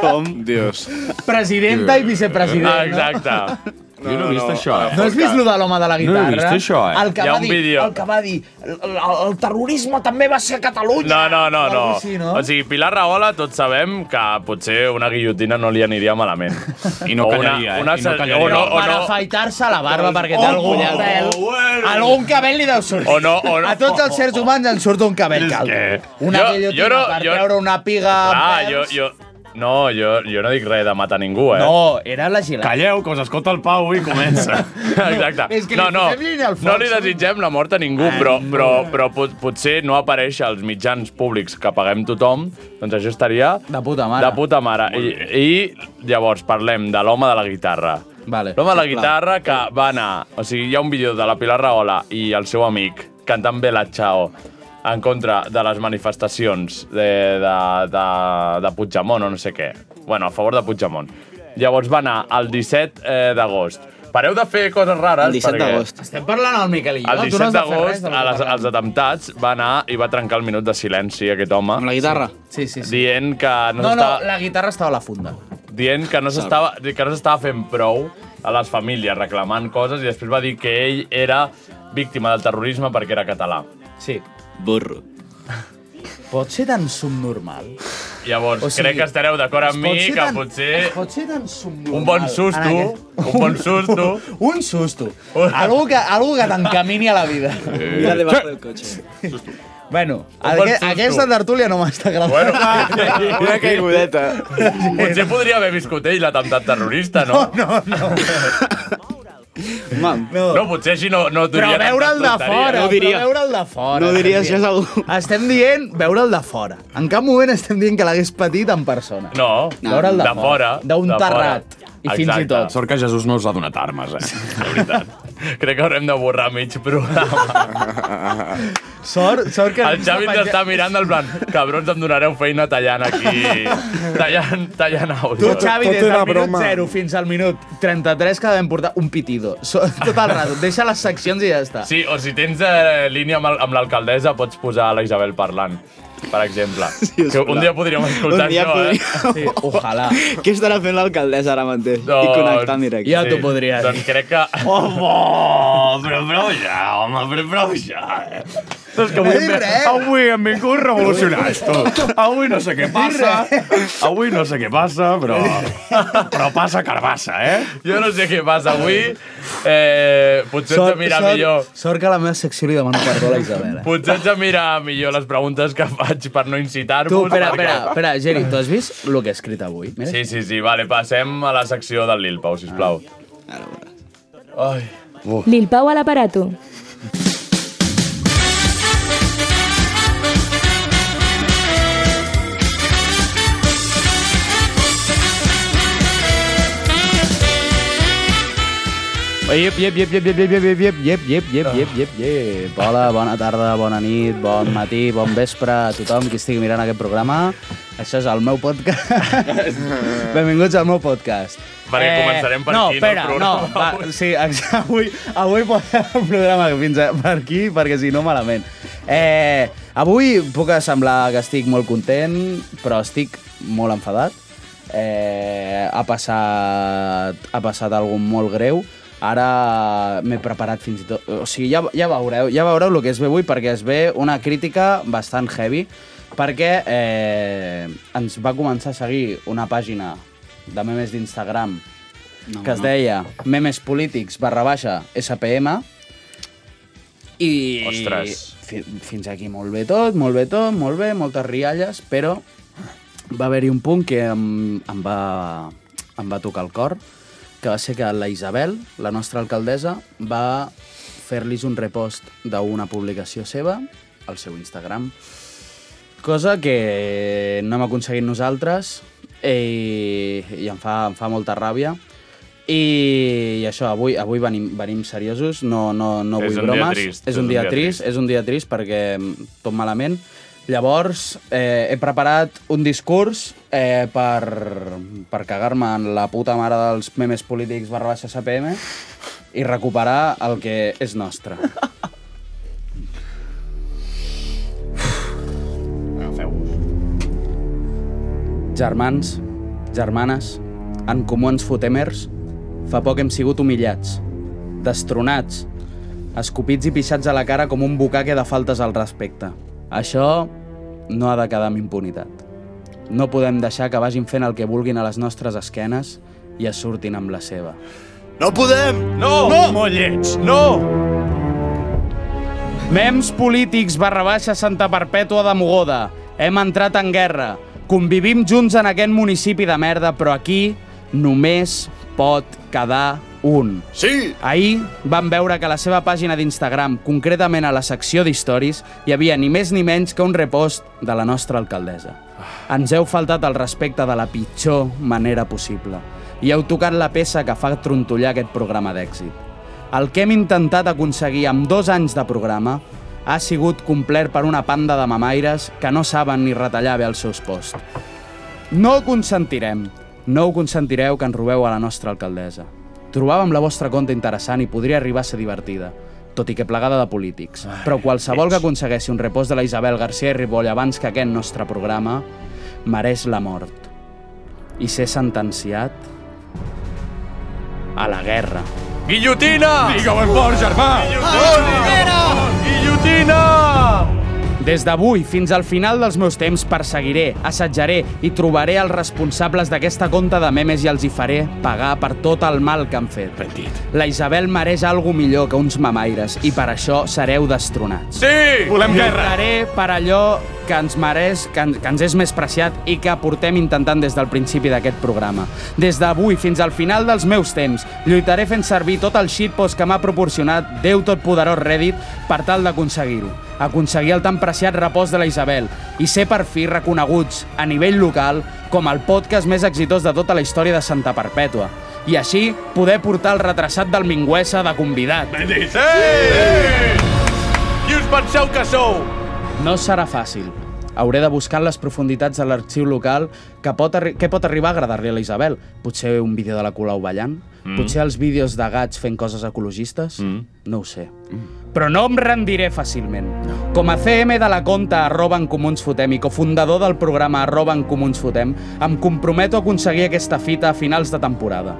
Com? Dios. Presidenta i vicepresident. Ah, no? exacte. Jo no he vist això, eh? No has vist lo de l'home de la No he guitarra? vist això, eh? El que Hi ha va un dir, vídeo. El que va dir, el, el, el terrorisme també va ser a Catalunya. No, no, no, no. Algo així, no? O sigui, Pilar Rahola, tots sabem que potser una guillotina no li aniria malament. I no callaria, eh? I no callaria. o no, Però o per no, afaitar-se la barba, perquè Oh, té algun oh, cabell. Algun cabell li deu sortir. O no, o no. A tots els sers humans en surt un cabell calvo. Una Jo- guillotina jo no- per jo- treure una piga... amb Ah, pèls. jo, jo... No, jo, jo no dic res de matar ningú, eh? No, era la gilada. Calleu, que us escolta el Pau i comença. Exacte. És que li no, no, posem línia al fons. no li desitgem la mort a ningú, però, però, però pot, potser no aparèixer als mitjans públics que paguem tothom, doncs això estaria De puta mare. de puta mare. I, I llavors parlem de l'home de la guitarra. Vale. L'home de la guitarra que va anar... O sigui, hi ha un vídeo de la Pilar Rahola i el seu amic cantant Bella Ciao en contra de les manifestacions de, de, de, de Puigdemont o no sé què. Bueno, a favor de Puigdemont. Llavors va anar el 17 eh, d'agost. Pareu de fer coses rares. El 17 perquè d'agost. Estem parlant al Miquel i jo. El tu 17 no has de fer d'agost, res de a lo que les- parlem. als atemptats, va anar i va trencar el minut de silenci aquest home. Amb la guitarra. Sí, sí, sí. Dient que no, No, no, s'estava- la guitarra estava a la funda. dient que no s'estava que no s'estava fent prou a les famílies reclamant coses i després va dir que ell era víctima del terrorisme perquè era català. Sí. Burro. Pot ser tan subnormal? Llavors, o O sigui, sigui, crec que estareu d'acord amb Es mi pot ser que tan- potser es Pot ser tan subnormal. un bon susto, en aquest- un bon susto... Un susto. Algú que, algú que t'encamini a la vida. Mira debajo del cotxe. Bueno, Un bon aqu susto. aquesta tertúlia no m'està agradant. Bueno, Una caigudeta. potser podria haver viscut ell l'atemptat terrorista, no? No, Mam, no, no eh, potser així no, no Però duria tanta veure'l de tonteria. fora, No ho diria. però veure'l de fora. No ho diria si és algú. Estem dient veure'l de fora. En cap moment estem dient que l'hagués patit en persona. No, Veure'l de de fora. fora, d'un de fora. terrat, i fins i tot. Sort que Jesús no us ha donat armes, eh? De veritat. Crec que haurem de borrar mig programa. Sort, sort que... El Xavi ens està mirant del plan, cabrons, em donareu feina tallant aquí, tallant, tallant Tu, àudio. Xavi, tot des del era minut broma. 0 fins al minut 33 que vam portar un pitido. So, tot el rato. Deixa les seccions i ja està. Sí, o si tens eh, línia amb el- amb l'alcaldessa, pots posar la Isabel parlant, per exemple. Sí, que un dia podríem escoltar Un dia això, eh? Sí, ojalà. Què estarà fent l'alcaldessa ara mateix? I Doncs, connectar en directe. Ja t'ho podria dir. Doncs crec que... Home, però prou ja, home, però prou ja. eh. És que No he dit res. avui hem vingut revolucionats, tu. Avui no sé què passa, avui no sé què passa, però, però passa carbassa, eh? Jo no sé què passa avui. Eh, potser hem de mirar millor... sort que a la meva secció li demano perdó a la Isabel. Eh? Potser ens mirar millor les preguntes que faig per no incitar-vos. Tu, espera, perquè- espera, espera, Geri, tu has vist el que he escrit avui? Mira. Sí, sí, sí, vale, passem a la secció del Lil Pau, sisplau. Ah, Ara ho veuràs. Ai. Lil Pau a l'aparato. Iep, iep, iep, iep, iep, iep, iep, iep, iep, iep, iep, iep, iep, iep. Hola, bona tarda, bona nit, bon matí, bon vespre a tothom qui estigui mirant aquest programa. Això és el meu podcast. Benvinguts al meu podcast. Eh, Perquè començarem per no, aquí, no, el espera, no, programa va, sí, ex- avui, avui posarem el programa fins a, per aquí, perquè si no, malament. Eh, avui puc semblar que estic molt content, però estic molt enfadat. Eh, ha passat, ha passat algun molt greu. Ara m'he preparat fins i tot... O sigui, ja, ja veureu, ja veureu el que es ve avui, perquè es ve una crítica bastant heavy, perquè eh, ens va començar a seguir una pàgina de memes d'Instagram no, que es no. deia memes polítics barra baixa SPM i Ostres. fi, fins aquí molt bé tot, molt bé tot, molt bé, moltes rialles, però va haver-hi un punt que em, em, va, em va tocar el cor, que va ser que la Isabel, la nostra alcaldessa, va fer-los un repost d'una publicació seva al seu Instagram, cosa que no hem aconseguit nosaltres i, i em, fa, em fa molta ràbia. I, i això, avui, avui venim, venim seriosos, no, no, no És vull un dia bromes. trist, és un dia trist, és un dia trist perquè mm, tot malament. Llavors, eh, he preparat un discurs eh, per, per cagar-me en la puta mare dels memes polítics barra baixa SPM i recuperar el que és nostre. Germans, germanes, en comú ens fotemers, fa poc hem sigut humillats, destronats, escopits i pixats a la cara com un bucaque de faltes al respecte. Això no ha de quedar amb impunitat. No podem deixar que vagin fent el que vulguin a les nostres esquenes i es surtin amb la seva. No podem! No! no! Molt lleig! No! Mems polítics barra baixa Santa Perpètua de Mogoda. Hem entrat en guerra. Convivim junts en aquest municipi de merda, però aquí només pot quedar un. Sí! Ahir vam veure que a la seva pàgina d'Instagram, concretament a la secció d'historis, hi havia ni més ni menys que un repost de la nostra alcaldessa. Ens heu faltat el respecte de la pitjor manera possible i heu tocat la peça que fa trontollar aquest programa d'èxit. El que hem intentat aconseguir amb dos anys de programa ha sigut complert per una panda de mamaires que no saben ni retallar bé els seus posts. No ho consentirem. No ho consentireu que ens robeu a la nostra alcaldessa. Trobàvem la vostra conta interessant i podria arribar a ser divertida, tot i que plegada de polítics. Però qualsevol que aconsegueixi un repòs de la Isabel García i Ripoll abans que aquest nostre programa mereix la mort i ser sentenciat a la guerra. Guillotina! Digue-ho en fort, germà! Guillotina! Guillotina! Des d'avui fins al final dels meus temps perseguiré, assetjaré i trobaré els responsables d'aquesta conta de memes i els hi faré pagar per tot el mal que han fet. Petit. La Isabel mereix algo millor que uns mamaires i per això sereu destronats. Sí! Volem guerra! Lluitaré per allò que ens mereix, que, en- que ens és més preciat i que portem intentant des del principi d'aquest programa. Des d'avui fins al final dels meus temps, lluitaré fent servir tot el shitpost que m'ha proporcionat Déu Totpoderós Reddit per tal d'aconseguir-ho. Aconseguir el tan preciat repòs de la Isabel i ser per fi reconeguts a nivell local com el podcast més exitós de tota la història de Santa Perpètua. I així poder portar el retrasat del Mingüesa de convidat. Dit. Sí! Qui us penseu que sou? No serà fàcil. Hauré de buscar en les profunditats de l'arxiu local que pot, arri- que pot arribar a agradar-li a la Isabel. Potser un vídeo de la Colau ballant? Mm. Mm. Potser els vídeos de gats fent coses ecologistes? Mm. No ho sé. Però no em rendiré fàcilment. Com a CM de la conta arroba en Comuns Fotem i cofundador del programa arroba en Comuns Fotem, em comprometo a aconseguir aquesta fita a finals de temporada.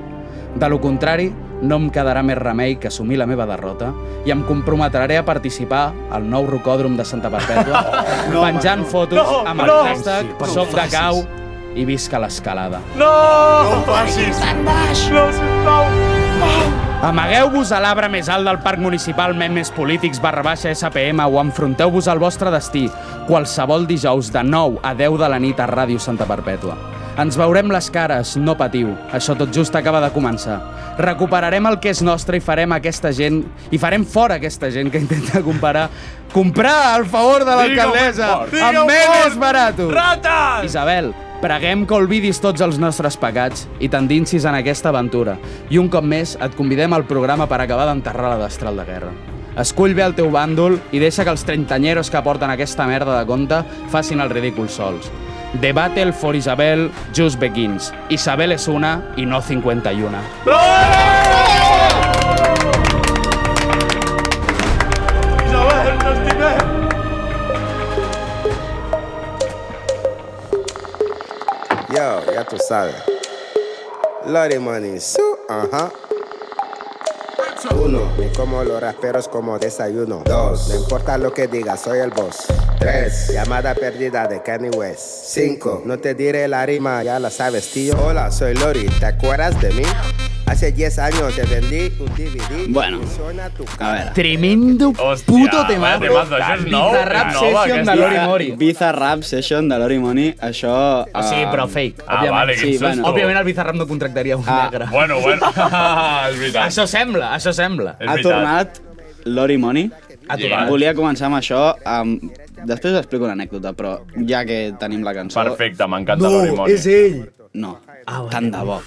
De lo contrari, no em quedarà més remei que assumir la meva derrota i em comprometraré a participar al nou rocòdrom de Santa Perpètua no, penjant no, fotos no, amb el no. hashtag No ho Soc de facis. Cau i visca l'escalada. No! No ho facis! Oh. No, sisplau! Amagueu-vos a l'arbre més alt del parc municipal memes polítics barra baixa SPM o enfronteu-vos al vostre destí qualsevol dijous de 9 a 10 de la nit a Ràdio Santa Perpètua. Ens veurem les cares, no patiu. Això tot just acaba de començar. Recuperarem el que és nostre i farem aquesta gent i farem fora aquesta gent que intenta comparar comprar al favor de Digue-ho l'alcaldessa fort. amb Digue-ho memes fort. baratos. Rates! Isabel, Preguem que olvidis tots els nostres pecats i t'endinsis en aquesta aventura. I un cop més et convidem al programa per acabar d'enterrar la destral de guerra. Escull bé el teu bàndol i deixa que els trentanyeros que porten aquesta merda de conte facin el ridícul sols. The Battle for Isabel just begins. Isabel és una i no 51. Isabel, t'estimem! Yo, ya tú sabes. Lori Money, su, ajá. Uno, me como los rasperos como desayuno. Dos, no importa lo que digas, soy el boss. Tres, llamada perdida de Kanye West. Cinco, no te diré la rima, ya la sabes, tío. Hola, soy Lori, ¿te acuerdas de mí? Hace 10 años te vendí un DVD. Bueno, Suena tu a veure. Tremendo puto tema. temazo. temazo, això és nou, Bizarrap és nova, Session aquesta. de Lori Mori. Bizarrap Session de Lori Mori. Això... Ah, sí, però fake. Ah, òbviament. vale, quin sí, susto. Òbviament el Bizarrap no contractaria un ah, negre. bueno, bueno. és veritat. Això sembla, això sembla. Ha tornat Lori Money. Ha tornat. Volia començar amb això. Amb... Després us explico una anècdota, però ja que tenim la cançó... Perfecte, m'encanta No, Lori Money. és ell! No, ah, tant de bo.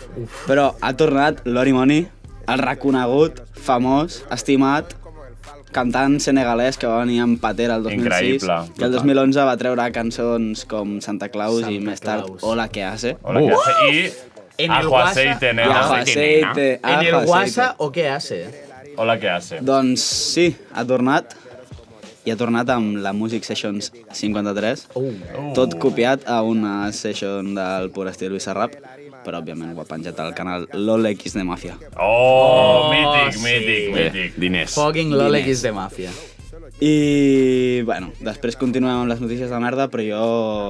Però ha tornat Lori Money, el reconegut, famós, estimat, cantant senegalès que va venir amb Patera el 2006 Increïble. i el 2011 va treure cançons com Santa Claus i més tard Hola que hace. Hola, Uh! què hace? I En el ajo WhatsApp- aceite, nena. I ajo aceite, En ajo el aceite. WhatsApp. Guasa o què hace? Hola, què hace? Doncs sí, ha tornat i ha tornat amb la Music Sessions 53, Oh. tot copiat a una session del pur estil Luis Arrap, però òbviament ho ha penjat al canal LOL X de Mafia. Oh, mític, mític, mític. Eh, Diners. Fucking LOL X de Mafia. I, bueno, després continuem amb les notícies de merda, però jo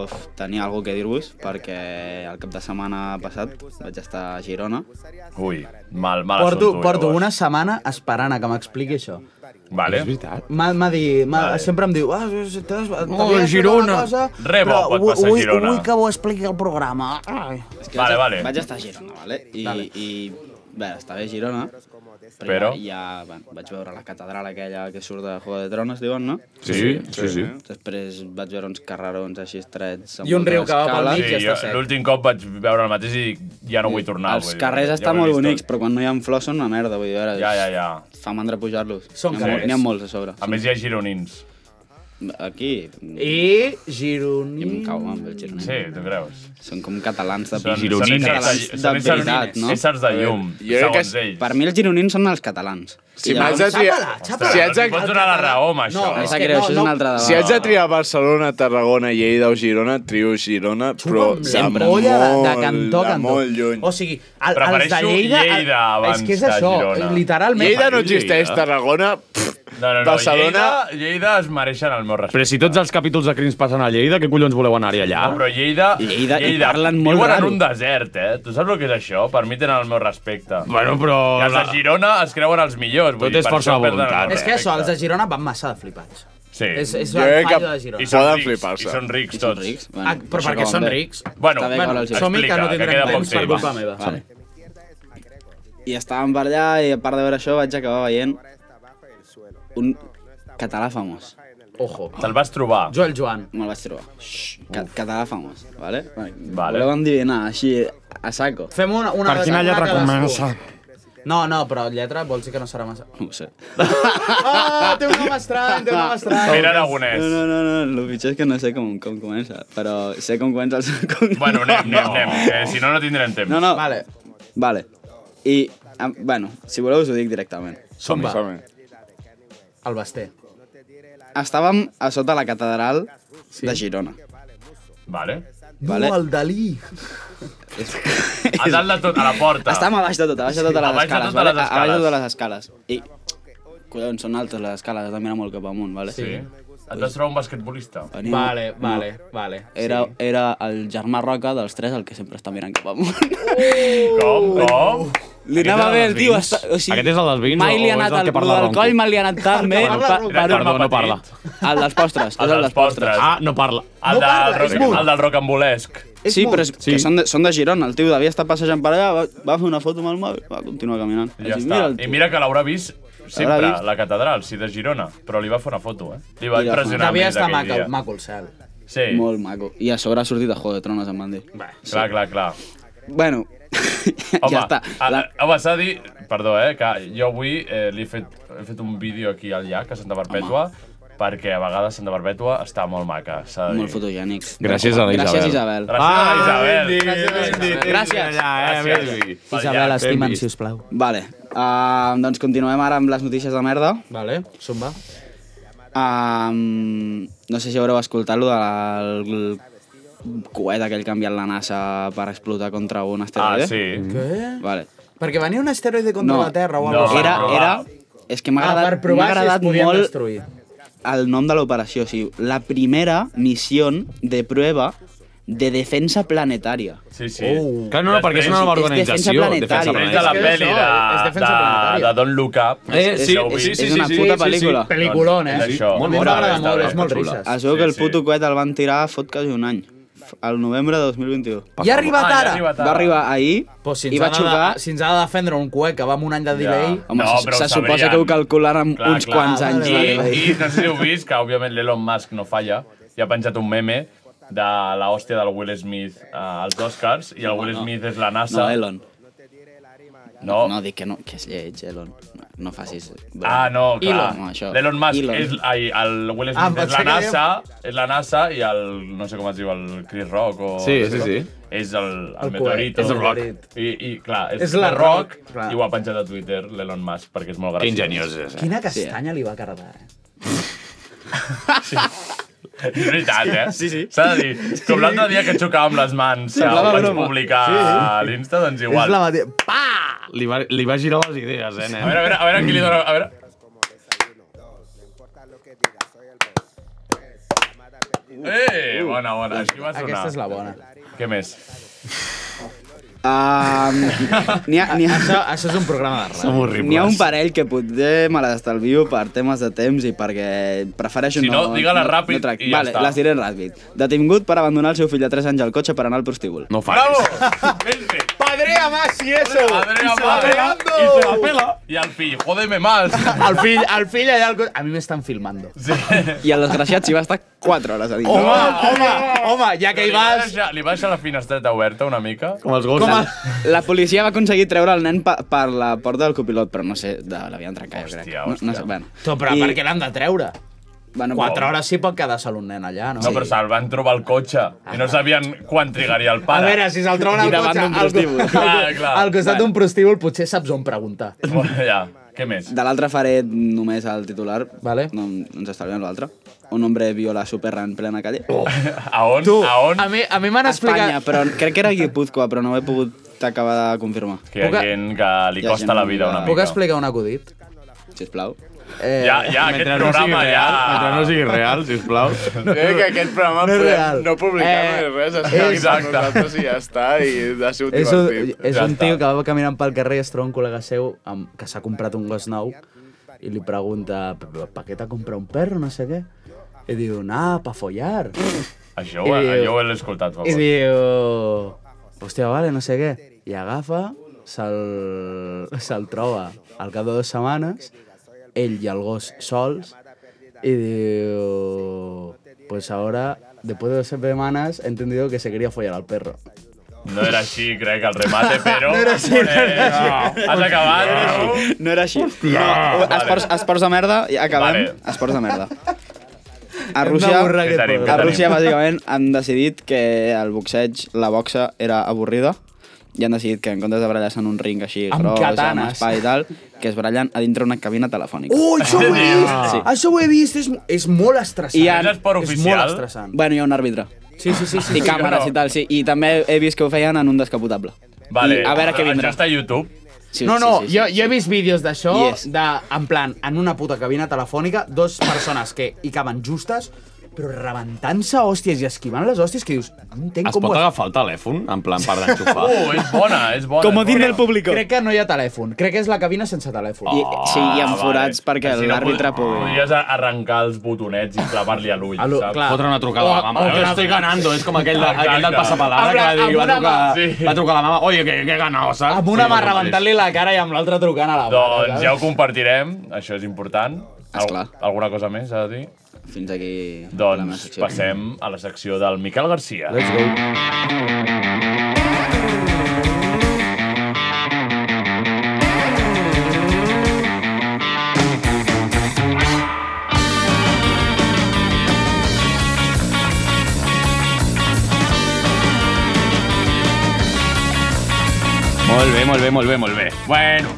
f, tenia alguna que dir-vos, perquè el cap de setmana passat vaig estar a Girona. Ui, mal, eh, Porto, porto una setmana esperant a que m'expliqui això. Vale. És veritat. M'ha m'ha dit... M'ha, Vale. Sempre em diu... Ah, t'has- t'has- Oh, t'havies fet Girona. una cosa, Re bo però pot vull- passar a vull- Girona. Vull que ho expliqui al programa. Ai. que Vale, vaig, vale. Vaig estar a Girona, vale? I, i bé, està bé Girona, però, Però? ja, ja bueno, vaig veure la catedral aquella que surt de Juego de Tronos, diuen, no? Sí, sí, sí, sí. Després vaig veure uns carrerons així estrets. amb I un moltes riu que va pel escales. mig i està sec. L'últim cop vaig veure el mateix i ja no Ah, vull tornar. Els carrers estan molt bonics, però quan no hi ha flors són una merda, vull dir, ara, Ja, ja, ja. fa mandra pujar-los. Són N'hi ha mol- carrers. N'hi ha molts a sobre. A més hi ha gironins. Aquí. I gironins. I em cau amb el gironins. Sí, tu creus? Són com catalans de, Són- són éssers gironins catalans de- de són éssers- veritat, no? éssers de llum, Eh, Jo crec segons que- ells. Per mi els gironins són els catalans. Si m'haig de triar... Si haig de... Pots donar la raó amb això. No, em sap greu, això és un altre debat. Si haig de triar Barcelona, Tarragona, Lleida o Girona, trio Girona, però de Sempre. molt, Olla de, de cantó a de cantó. molt lluny. O sigui, el, els de Prefereixo Lleida... el- Lleida abans és que és que això, eh, Girona. literalment. Lleida no existeix, Tarragona... No, no, no. Barcelona- Lleida, Lleida es mereixen el meu respecte. Però si tots els capítols de Crims passen a Lleida, què collons voleu anar-hi allà? No, però Lleida... Lleida- i parlen molt Viuen raro. en un desert, eh? Tu saps el que és això? Per mi tenen el meu respecte. Bueno, però- I els de Girona es creuen els millors. vull Tot dir, és per força això perden el voluntat. respecte. És que això, els de Girona van massa de flipats. Sí. És, és el fallo de Girona. I són rics, I són rics tots. Bueno, Ah, però això perquè com són bé. rics. Bueno, Està bé, bueno, com els- som Explica, que no que tindrem queda poc temps per temps. culpa Va. meva. Vale. I estàvem per allà i a part de veure això vaig acabar veient un català famós. Ojo. Te'l vas trobar. Joel Joan. Me'l vaig trobar. Xxxt. Ca català famós, vale? Vale. Voleu endivinar així a saco. Fem una, una Per quina una lletra cadascú. comença? No, no, però lletra vols dir que no serà massa... No ho sé. Ah, té un nom estrany, té un nom estrany. No, no, no, no, el pitjor és que no sé com, com comença, però sé com comença el seu cognom. Bueno, anem, anem, anem, que si no, no tindrem temps. No, no. Vale. Vale. I, em- bueno, si voleu us ho dic directament. Som-hi, som-hi. El Basté. Estàvem a sota la catedral sí. de Girona. Vale. Vale. el Dalí. A dalt de tot, a la porta. Estàvem a baix de tot, a baix de totes les Abaix de escales. totes vale? les A- A baix de escales. totes les escales. I, collons, són altes les escales, has de mirar molt cap amunt, vale? Sí. Et vas trobar un basquetbolista. Anem. No. vale. Era, era el germà Roca dels tres el que sempre està mirant cap amunt. Com, com? Li Aquest era anava bé dels el tio. vins? Està, o sigui, Aquest és el dels vins mai o- li o ha és anat el que parla lo el del ronco? coll, mai li ha anat tan bé. Parla el ronco. Perdó, no parla. El dels postres. És el dels postres. Ah, no parla. El, del, rock, el del rocambolesc. Ah, Sí, però és, sí. Que són, de, són de Girona. El tio devia estar passejant per allà, va, va fer una foto amb el mòbil, va continuar caminant. I ja Així, està. mira el I tio. mira que l'aurà vist sempre, L'haurà vist. la catedral, sí, de Girona. Però li va fer una foto, eh? Li va Mira, impressionar Devia més estar aquell maco- dia. Maco el cel. Sí. Molt maco. I a sobre ha sortit a Juego de Tronos, em van dir. Bé, Clar, clar, clar. Bueno, Home, ja està. A, la... home, s'ha de dir... Perdó, eh, que jo avui eh, li he fet, he fet un vídeo aquí al llac, a Santa Barbètua, perquè a vegades Santa Barbètua està molt maca, s'ha de dir. Molt fotogènics. Gràcies a la Gràcies, Isabel. Isabel. Gràcies a la Isabel. Gràcies. Allà, eh, fem si us plau. Vale. Uh, doncs continuem ara amb les notícies de merda. Vale, som va. Um, no sé si haureu escoltat lo del coet aquell que ha enviat la NASA per explotar contra un asteroide. Ah, sí. Mhm. Què? Vale. Perquè venia un asteroide contra No, la Terra o no, alguna era, era... És que m'ha Ah, agradat, per provar m'ha si es agradat podien molt destruir. el nom de l'operació. O sigui, la primera missió de prueba de defensa planetària. Sí, sí. Oh. Clar, no, no, perquè és una nova defensa organització, planetària. defensa planetària. És de la peli de- És defensa de- planetària. de Don't Look Up. Eh, sí, Ja ho és, vi. sí, sí, és una puta pel·lícula. Peliculón, eh? És això. A mi Molt m'agrada bona, està bé, està xula. Es veu que el Sí, sí. puto coet el van tirar fot quasi un any. Al novembre de 2021. I ha arribat Ah, ja ha ara. arribat ara. Va arribar ahir Pues si ens i va ha de- xocar... Si ens ha de defendre un cuec que va amb un any de delay... Home, se, se suposa que ho calculen amb uns quants anys. I, de- I no sé si heu vist que, òbviament, l'Elon Musk no falla i ha penjat un meme de la hòstia del Will Smith eh, als Oscars i el Will no. Smith és la NASA. No, Oh. Elon. No. no dic que, no, que és lleig, Elon. No, no facis... Ah, no, clar. Elon, no, això. L'Elon Musk Elon. és... Ai, el Will Ah, em Smith és la pensava que NASA, és la NASA i el... No sé com es diu, el Chris Rock o... Sí, no sé sí, com. sí. És el, el, El meteorito. coet, és el Rock. I, i clar, és, És és la la Rock, Rock, clar. i ho ha penjat a Twitter l'Elon Musk perquè és molt graciós. ingeniós és, Quina castanya li va cardar, eh? És veritat, eh? Sí, sí. S'ha de dir, com l'altre dia que xocàvem les mans, sí, ho Semblava vaig broma. publicar Sí, sí. a l'Insta, doncs És igual. la mateixa... Li va, li va girar les idees, eh, nen? A veure, a veure, a veure qui li dona... A veure. Eh, bona, bona. Aquí va sonar. Aquesta és la bona. Què més? Um, n'hi ha, n'hi ha... Això, això és un programa de ràdio. Som horribles. N'hi ha un parell que potser me les estalvio per temes de temps i perquè prefereixo Si no, no digue-les ràpid tractar. i ja vale, està. les diré ràpid. Detingut per abandonar el seu fill de 3 anys al cotxe per anar al prostíbul. No Padrea más y eso. Adrià, Adrià, i se la pela. I el fill, jodeme más. El fill, el fill allà... Al... co- A mi m'estan filmando. Sí. I el desgraciat s'hi va estar 4 hores a dintre. Home, home, home, ja que hi Li va vas... deixar, li va deixar la finestreta oberta una mica. Com els Com a... La policia va aconseguir treure el nen pa, per la porta del copilot, però no sé, de, l'havien trencat, jo crec. Hòstia, No, no sé, bueno. Tu, però I- I... per què l'han de treure? Bueno, Quatre però- hores sí pot quedar sol un nen allà, no? No, però se'l van trobar al cotxe i no sabien quan trigaria el A pare. veure, si se'l troben I al davant cotxe, d'un al, co- prostíbul. al, Clar, co- clar. al costat d'un prostíbul potser saps on preguntar. Bueno, ja, què més? De l'altre faré només el titular. Vale. No, ens estalviem l'altre. Un hombre viola a su perra en plena calle. Oh. A on? Tu, a on? A mi, a mi m'han A Espanya, explicat... però crec que era Guipúzcoa, però no ho he pogut acabar de confirmar. Que hi ha gent que li Hi ha costa gent la vida una que- Puc mica. explicar un acudit? Sisplau. Eh, Ja, ja, aquest Mentre no sigui programa ja... real, mentre no sigui real, sisplau. No, que aquest programa no podem és real. no publicar eh, Eh, res, es queda exacte. amb nosaltres i ja està, i ha sigut És un, divertit. és un tio que va caminant pel carrer i es troba un col·lega seu amb, que s'ha comprat un gos nou i li pregunta, per què t'ha comprat un perro, no sé què? I diu, nah, pa follar. Això, I ho, diu- jo ho he escoltat, per I favor. diu... Hòstia, vale, no sé què. I agafa, se'l se troba al cap de dues setmanes, ell i el gos sols, y diu... Pues ahora, después de dos semanas, he entendido que se quería follar al perro. No era així, crec, el remate, però... No era així, no era així. Has acabat, no? No era així. Hòstia. Ah, No, esports, esports de merda, i acabem. Vale. Esports de merda. A Hem Rússia, d'avorrar aquest Què tenim, programa. a què Rússia, tenim? bàsicament, han decidit que el boxeig, la boxa, era avorrida i han decidit que en comptes de barallar-se en un ring així Amb gros, amb katanes. espai i tal, que es barallen a dintre una cabina telefònica. Oh, això ho he vist! Sí. Això ho he vist, és, és molt estressant. I han- És esport És molt oficial? estressant. Bueno, hi ha un àrbitre. Sí, sí, sí. I sí, sí. càmeres i tal, sí. I també he vist que ho feien en un descapotable. Vale, Ah, I a veure què vindrà. Això està a YouTube. Sí, no, no, sí, sí, sí. jo, jo he vist vídeos d'això, Yes. de, en plan, en una puta cabina telefònica, dos persones que hi caben justes, però rebentant-se hòsties i esquivant les hòsties, que dius, no entenc Es com pot ho agafar el telèfon, en plan, per d'enxufar? Uh, és bona, és bona. és bona. públic. Crec que no hi ha telèfon, crec que és la cabina sense telèfon. Oh, I, sí, Ah, hi ha forats perquè Així l'àrbitre pod- pugui. Podries arrencar els botonets i clavar-li a l'ull, l'ull, saps? clar. Fotre una trucada a la mama. O- o "Eh, que la- estoy ganando. És com aquell, de, Exacte. aquell del passapalabra Habla- que va dir, amb va una trucar, mà- Sí. va trucar a la mama. Oye, que, que he ganado, saps? Amb Sí, una mà el mateix. rebentant-li la cara i amb l'altra trucant a la mà. Doncs ja ho compartirem, això és important. Esclar. Alguna cosa més s'ha de dir? Fins aquí la meva Doncs secció. passem a la secció del Miquel Garcia. Let's go. Molt bé, molt bé, molt bé, molt bé. Bueno,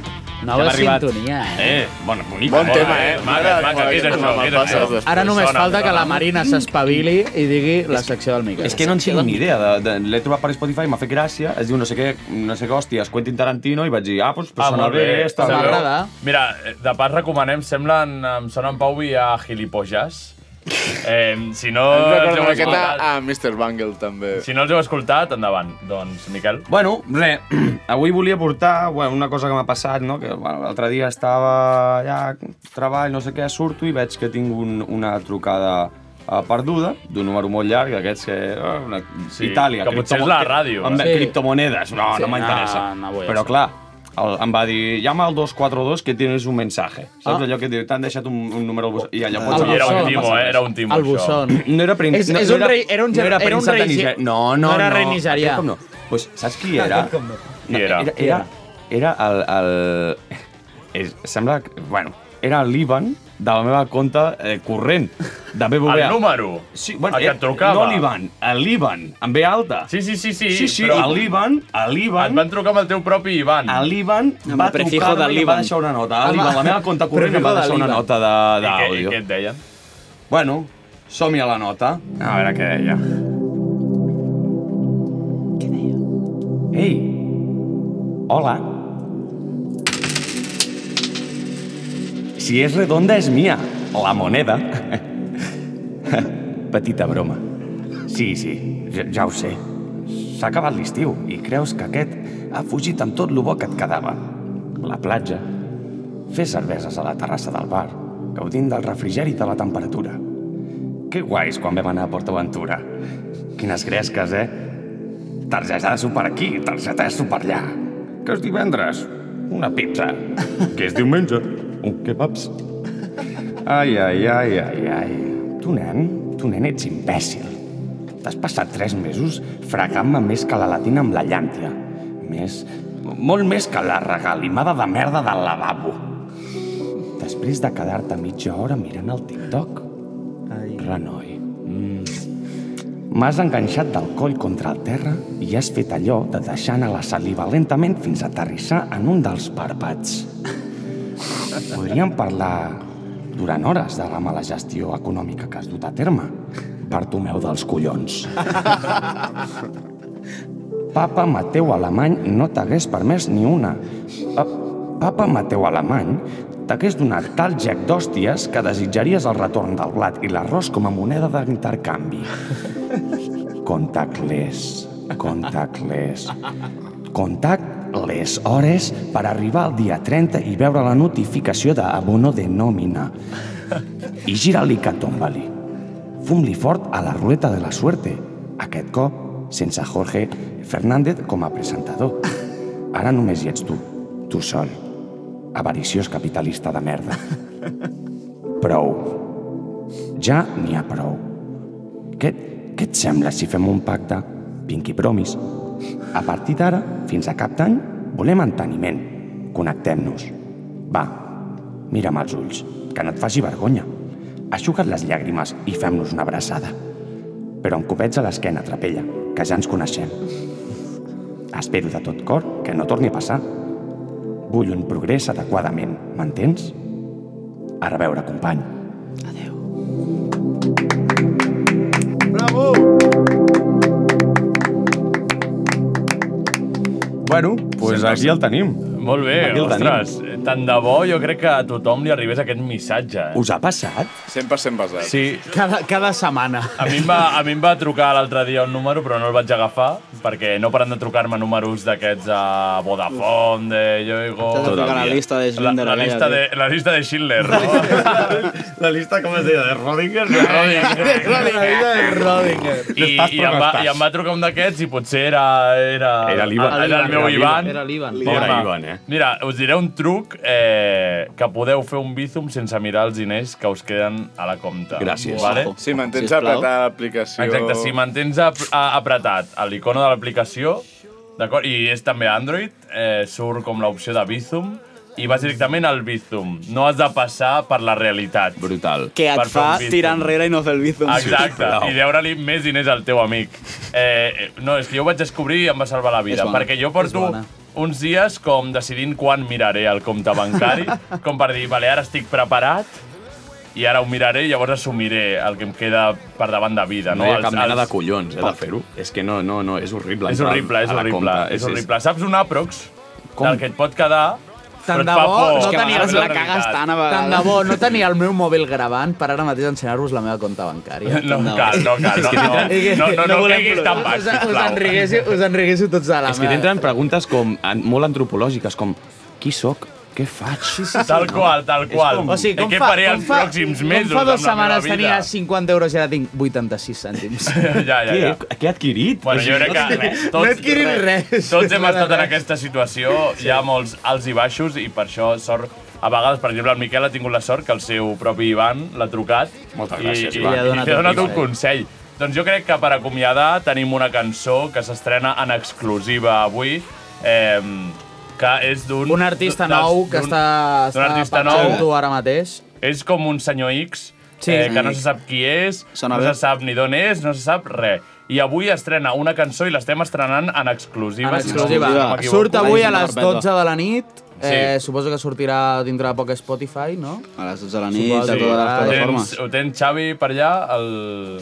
Nova ja hem arribat. sintonia, eh? Eh, bon, bonica, Bon bona, tema, eh? Maca, maca, què és això? Què és això? Ara només Sona, falta que sona. la Marina s'espavili i digui la secció del Miquel. És que no en tinc ni idea. De, de, L'he trobat per Spotify, m'ha fet gràcia. Es diu no sé què, no sé què, hòsties, Quentin Tarantino, i vaig dir, ah, doncs pues, Ah, sona molt bé, bé, està bé. m'agrada. Mira, eh, de pas recomanem, semblen, em sonen Pau i a Gilipojas. Eh, si no Em els recordo heu una miqueta escoltat, a Mr. Bungle, també. si no els heu escoltat, endavant. Doncs, Miquel. Bueno, re, avui volia portar bueno, una cosa que m'ha passat, no? que bueno, l'altre dia estava allà, treball, no sé què, surto i veig que tinc un, una trucada eh, perduda, d'un número molt llarg, d'aquests que... eh, Una, Sí, Itàlia, que potser és la criptomo- ràdio, Em, eh? sí. Criptomonedes, no, Sí, no m'interessa. no, no vull Però això. clar, el, em va dir, llama al 242 que tienes un mensaje. Saps Ah. allò que et diu, t'han deixat un, un número al buçó. I allò Ah, pots... el Era un buçó. timo, eh? Era un timo, Al El això. buçó. No era príncep... És- és no un rei- era un no gen- era un príncep de rei ge- Nigèria. No, no, no era rei nigerià. Aquest com no. Pues, saps qui Aquest era? com no. No, Qui era? Era, era, era el... el... És, sembla... que- Bueno, era l'Ivan de la meva compta eh, corrent, de BBVA. El número? Sí, bueno, El que eh, et trucava. No l'Ivan, l'Ivan, amb B alta. Sí, sí, sí, sí. Sí, sí, però- a l'Ivan, a l'Ivan... Et van trucar amb el teu propi Ivan. A l'Ivan Amb va el prefijo de trucar-me i em va l'Ivan. deixar una nota. A Amb- l'Ivan, la meva compta corrent em Prefijo va de deixar una l'Ivan. nota de- I què- i d'àudio. què et deien? Bueno, som-hi a la nota. A veure què deia. Què deia? Ei! Hola. Si és redonda és mia, la moneda. Petita broma. Sí, sí, ja, ja ho sé. S'ha acabat l'estiu i creus que aquest ha fugit amb tot lo bo que et quedava. La platja, fer cerveses a la terrassa del bar, gaudint del refrigeri i de la temperatura. Que guais quan vam anar a PortAventura. Quines gresques, eh? Targeta de sopar aquí, targeta de sopar allà. Que és divendres? Una pizza. que és diumenge? Un kebabs. Ai, ai, ai, ai, ai. Tu, nen, tu, nen, ets imbècil. T'has passat tres mesos fregant-me més que la latina amb la llàntia. Més... Molt més que la regalimada de merda del lavabo. Després de quedar-te mitja hora mirant el TikTok. Ai. Renoi. Mm. M'has enganxat del coll contra el terra i has fet allò de deixar anar la saliva lentament fins a aterrissar en un dels pàrpats. Podríem parlar durant hores de la mala gestió econòmica que has dut a terme. Bartomeu dels collons. Papa Mateu Alemany no t'hagués permès ni una. Pa Papa Mateu Alemany t'hagués donat tal gec d'hòsties que desitjaries el retorn del blat i l'arròs com a moneda d'intercanvi. Contactless, contactless. Contact les hores per arribar al dia 30 i veure la notificació d'abono de nòmina. I gira-li que tomba-li. Fum-li fort a la ruleta de la suerte, aquest cop sense Jorge Fernández com a presentador. Ara només hi ets tu, tu sol. Avariciós capitalista de merda. Prou. Ja n'hi ha prou. Què, què et sembla si fem un pacte? Pinky Promis. A partir d'ara, fins a cap d'any, volem enteniment. Connectem-nos. Va, mira'm els ulls, que no et faci vergonya. Aixuga't les llàgrimes i fem-nos una abraçada. Però amb copets a l'esquena, trapella, que ja ens coneixem. Espero de tot cor que no torni a passar. Vull un progrés adequadament, m'entens? Ara a veure, company. Bravo! Bueno, pues aquí el tenim. Molt bé, Aquí el ostres. Tant de bo jo crec que a tothom li arribés aquest missatge. Eh? Us ha passat? 100% basat. Sí. Cada, cada setmana. A mi, em va, a mi em va trucar l'altre dia un número, però no el vaig agafar, perquè no paren de trucar-me números d'aquests a Vodafone, de Yoigo... T'has de trucar a la lista de La, Schindler, la, aquella, lista tio. de, la lista de Schindler, no? La lista, com es deia, de Rodinger? De Rodinger. I, i, em va, I em va trucar un d'aquests i potser era... Era, Era l'Ivan. Era el meu Era l'Ivan. Ivan. Era l'Ivan. Pobre L'Ivan. Ivan, eh? Mira, us diré un truc dic eh, que podeu fer un bízum sense mirar els diners que us queden a la compta. Vale? Si mantens apretada l'aplicació... Exacte, si mantens ap a- apretat a l'icono de l'aplicació, d'acord, i és també Android, eh, surt com l'opció de Bizum, i vas directament al Bizum. No has de passar per la realitat. Brutal. Que et fa tirar enrere i no fer el bizum. Exacte, i deure-li més diners al teu amic. Eh, eh, no, és que jo ho vaig descobrir i em va salvar la vida, És bona, perquè jo és porto bona. uns dies com decidint quan miraré el compte bancari, com per dir, vale, ara estic preparat, i ara ho miraré i llavors assumiré el que em queda per davant de vida. No, No hi ha Els- cap mena els- de collons, eh, de fer-ho. És que no, no, no, és horrible. És horrible, és A la horrible, compra, és horrible. Saps un aprox del que et pot quedar, Tant però et de fa bo por. no És que a tenia vegades la realitat. cagues tant a vegades. Tant de bo no tenia el meu mòbil gravant per ara mateix ensenyar-vos la meva compta bancària. No cal, no cal, no, no, no, no, no caiguis tan baix, Us, us, sisplau. enriguéssiu, us enriguéssiu tots a la És que t'entren preguntes com, an- molt antropològiques, com qui sóc? Què faig? sí. Tal qual, tal És qual. com- O sigui, Eh, com què fa- faré com els fa- pròxims com mesos fa dues amb la meva setmanes vida? tenia 50 euros i ara tinc 86 cèntims. ja, ja, ja. Què he adquirit? Bueno, jo crec que res, tots, No he adquirit res. tots hem estat en aquesta situació, hi ha molts alts i baixos i per això sort a vegades, per exemple, el Miquel ha tingut la sort que el seu propi Ivan l'ha trucat Moltes i- gràcies, i, Ivan. i, i li ha donat un consell. Doncs jo crec que per acomiadar tenim una cançó que s'estrena en exclusiva avui, eh, que és d'un... Un artista nou que d'un- està, d'un està artista penjant nou ara mateix. és com un senyor X, Sí. eh, Mm. que no se sap qui és, Sona no bé. se sap ni d'on és, no se sap res. I avui estrena una cançó i l'estem estrenant en exclusiva. En si no exclusiva. m'equivoco. Surt avui a les 12 de la nit. Sí. Eh, suposo que sortirà dintre de poc a Spotify, no? A les 12 de la nit, Suposo. a totes les Ho Ah, tens, plataformes. ho tens, Xavi, per allà, el...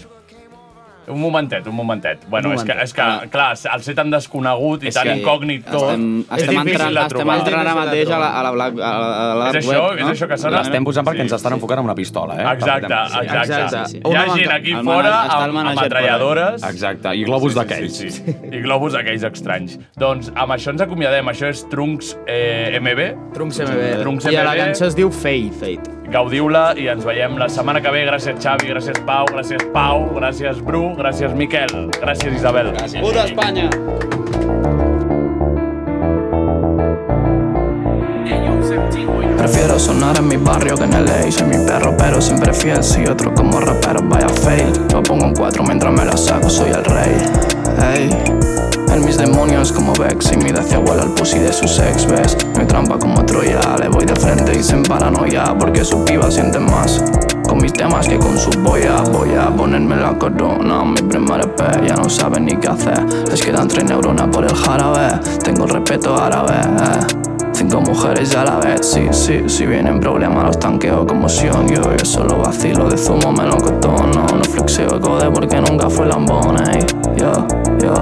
Un momentet, un momentet. Bueno, Un és que, és que clar, al ser tan desconegut i És tan que incògnit tot, Estem, és estem difícil entrant, de estem trobar. entrant ara mateix a la, a la, black, a la, a la És web, això, no? és això que sona. L'estem posant perquè ens estan enfocant amb una pistola, eh? Exacte, També. exacte. Hi ha gent aquí El fora manager- està el amb, amb manager atralladores. fora. Exacte, i globus d'aquells. Sí, sí. I globus aquells estranys. Doncs amb això ens acomiadem. Això és Trunks eh, MB. Trunks MB. Trunks Eh, I a la MB. cançó es diu Fate. Gaudiu-la i ens veiem la setmana que ve. Gràcies, Xavi, gràcies, Pau, gràcies, Pau, gràcies, Bru, gràcies, Miquel, gràcies, Isabel. Gràcies. Puta Espanya! Prefiero sonar en mi barrio que en el LA Soy mi perro pero siempre fiel Soy otro como rapero, vaya fail Lo pongo en cuatro mientras me la saco, soy el rey Ey En mis demonios como Vex Y mira hacia abuela el pussy de sus ex ves No hay trampa como Troya Le voy de frente y se en paranoia Porque su piba siente más con mis temas que con su boya Voy a ponerme la corona Mi primer EP ya no saben ni qué hacer Les quedan tres neuronas por el jarabe Tengo el respeto árabe eh. Cinco mujeres a la vez, sí, sí, si vienen problemas los tanqueo como Sion Yo, yo solo vacilo de zumo, melocotón, no, no flexeo el code porque nunca fue lambón, ey Yo, yo,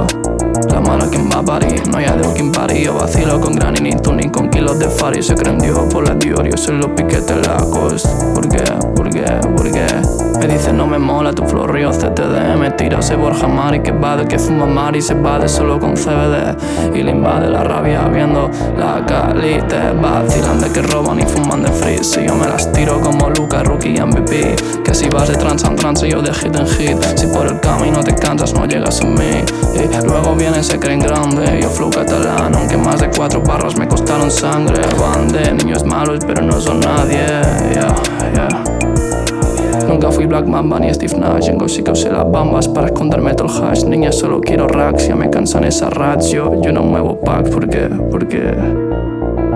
la mala quien va a parir, no hay adiós quien parí Yo vacilo con granny, ni tú ni con kilos de fari Se creen Dios por la Dior, yo soy los piquetes lacos ¿Por qué? ¿Por qué? ¿Por qué? Me dicen no me mola tu flor río CTD Me tira ese Borja Mari que va de que fuma Mari Se va de solo con CBD Y le invade la rabia viendo la cali Te vacilan de que roban y fuman de free Si yo me las tiro como Luca, Rookie MVP Que si vas de trance en trance yo de hit en hit Si por el camino te cansas no llegas a mí Y luego vienes se creen grande Yo flow catalán aunque más de cuatro barras me costaron sangre Van de niños malos pero no son nadie yeah, yeah. Nunca fui Black Mamba ni Steve Nash En sí que usé las bambas para esconderme todo el hash Niña, solo quiero racks, ya me cansan esas rats Yo, yo no muevo packs, ¿por qué? ¿Por qué?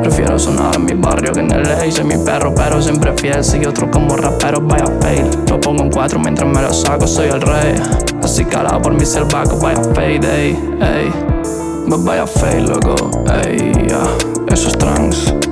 Prefiero sonar en mi barrio que en el ley Soy mi perro, pero siempre fiel Soy otro como rapero, vaya fail Lo pongo en cuatro mientras me lo saco, soy el rey Así calado por mi selvaco, vaya payday, ey But vaya fail, loco, ey, yeah. Esos trans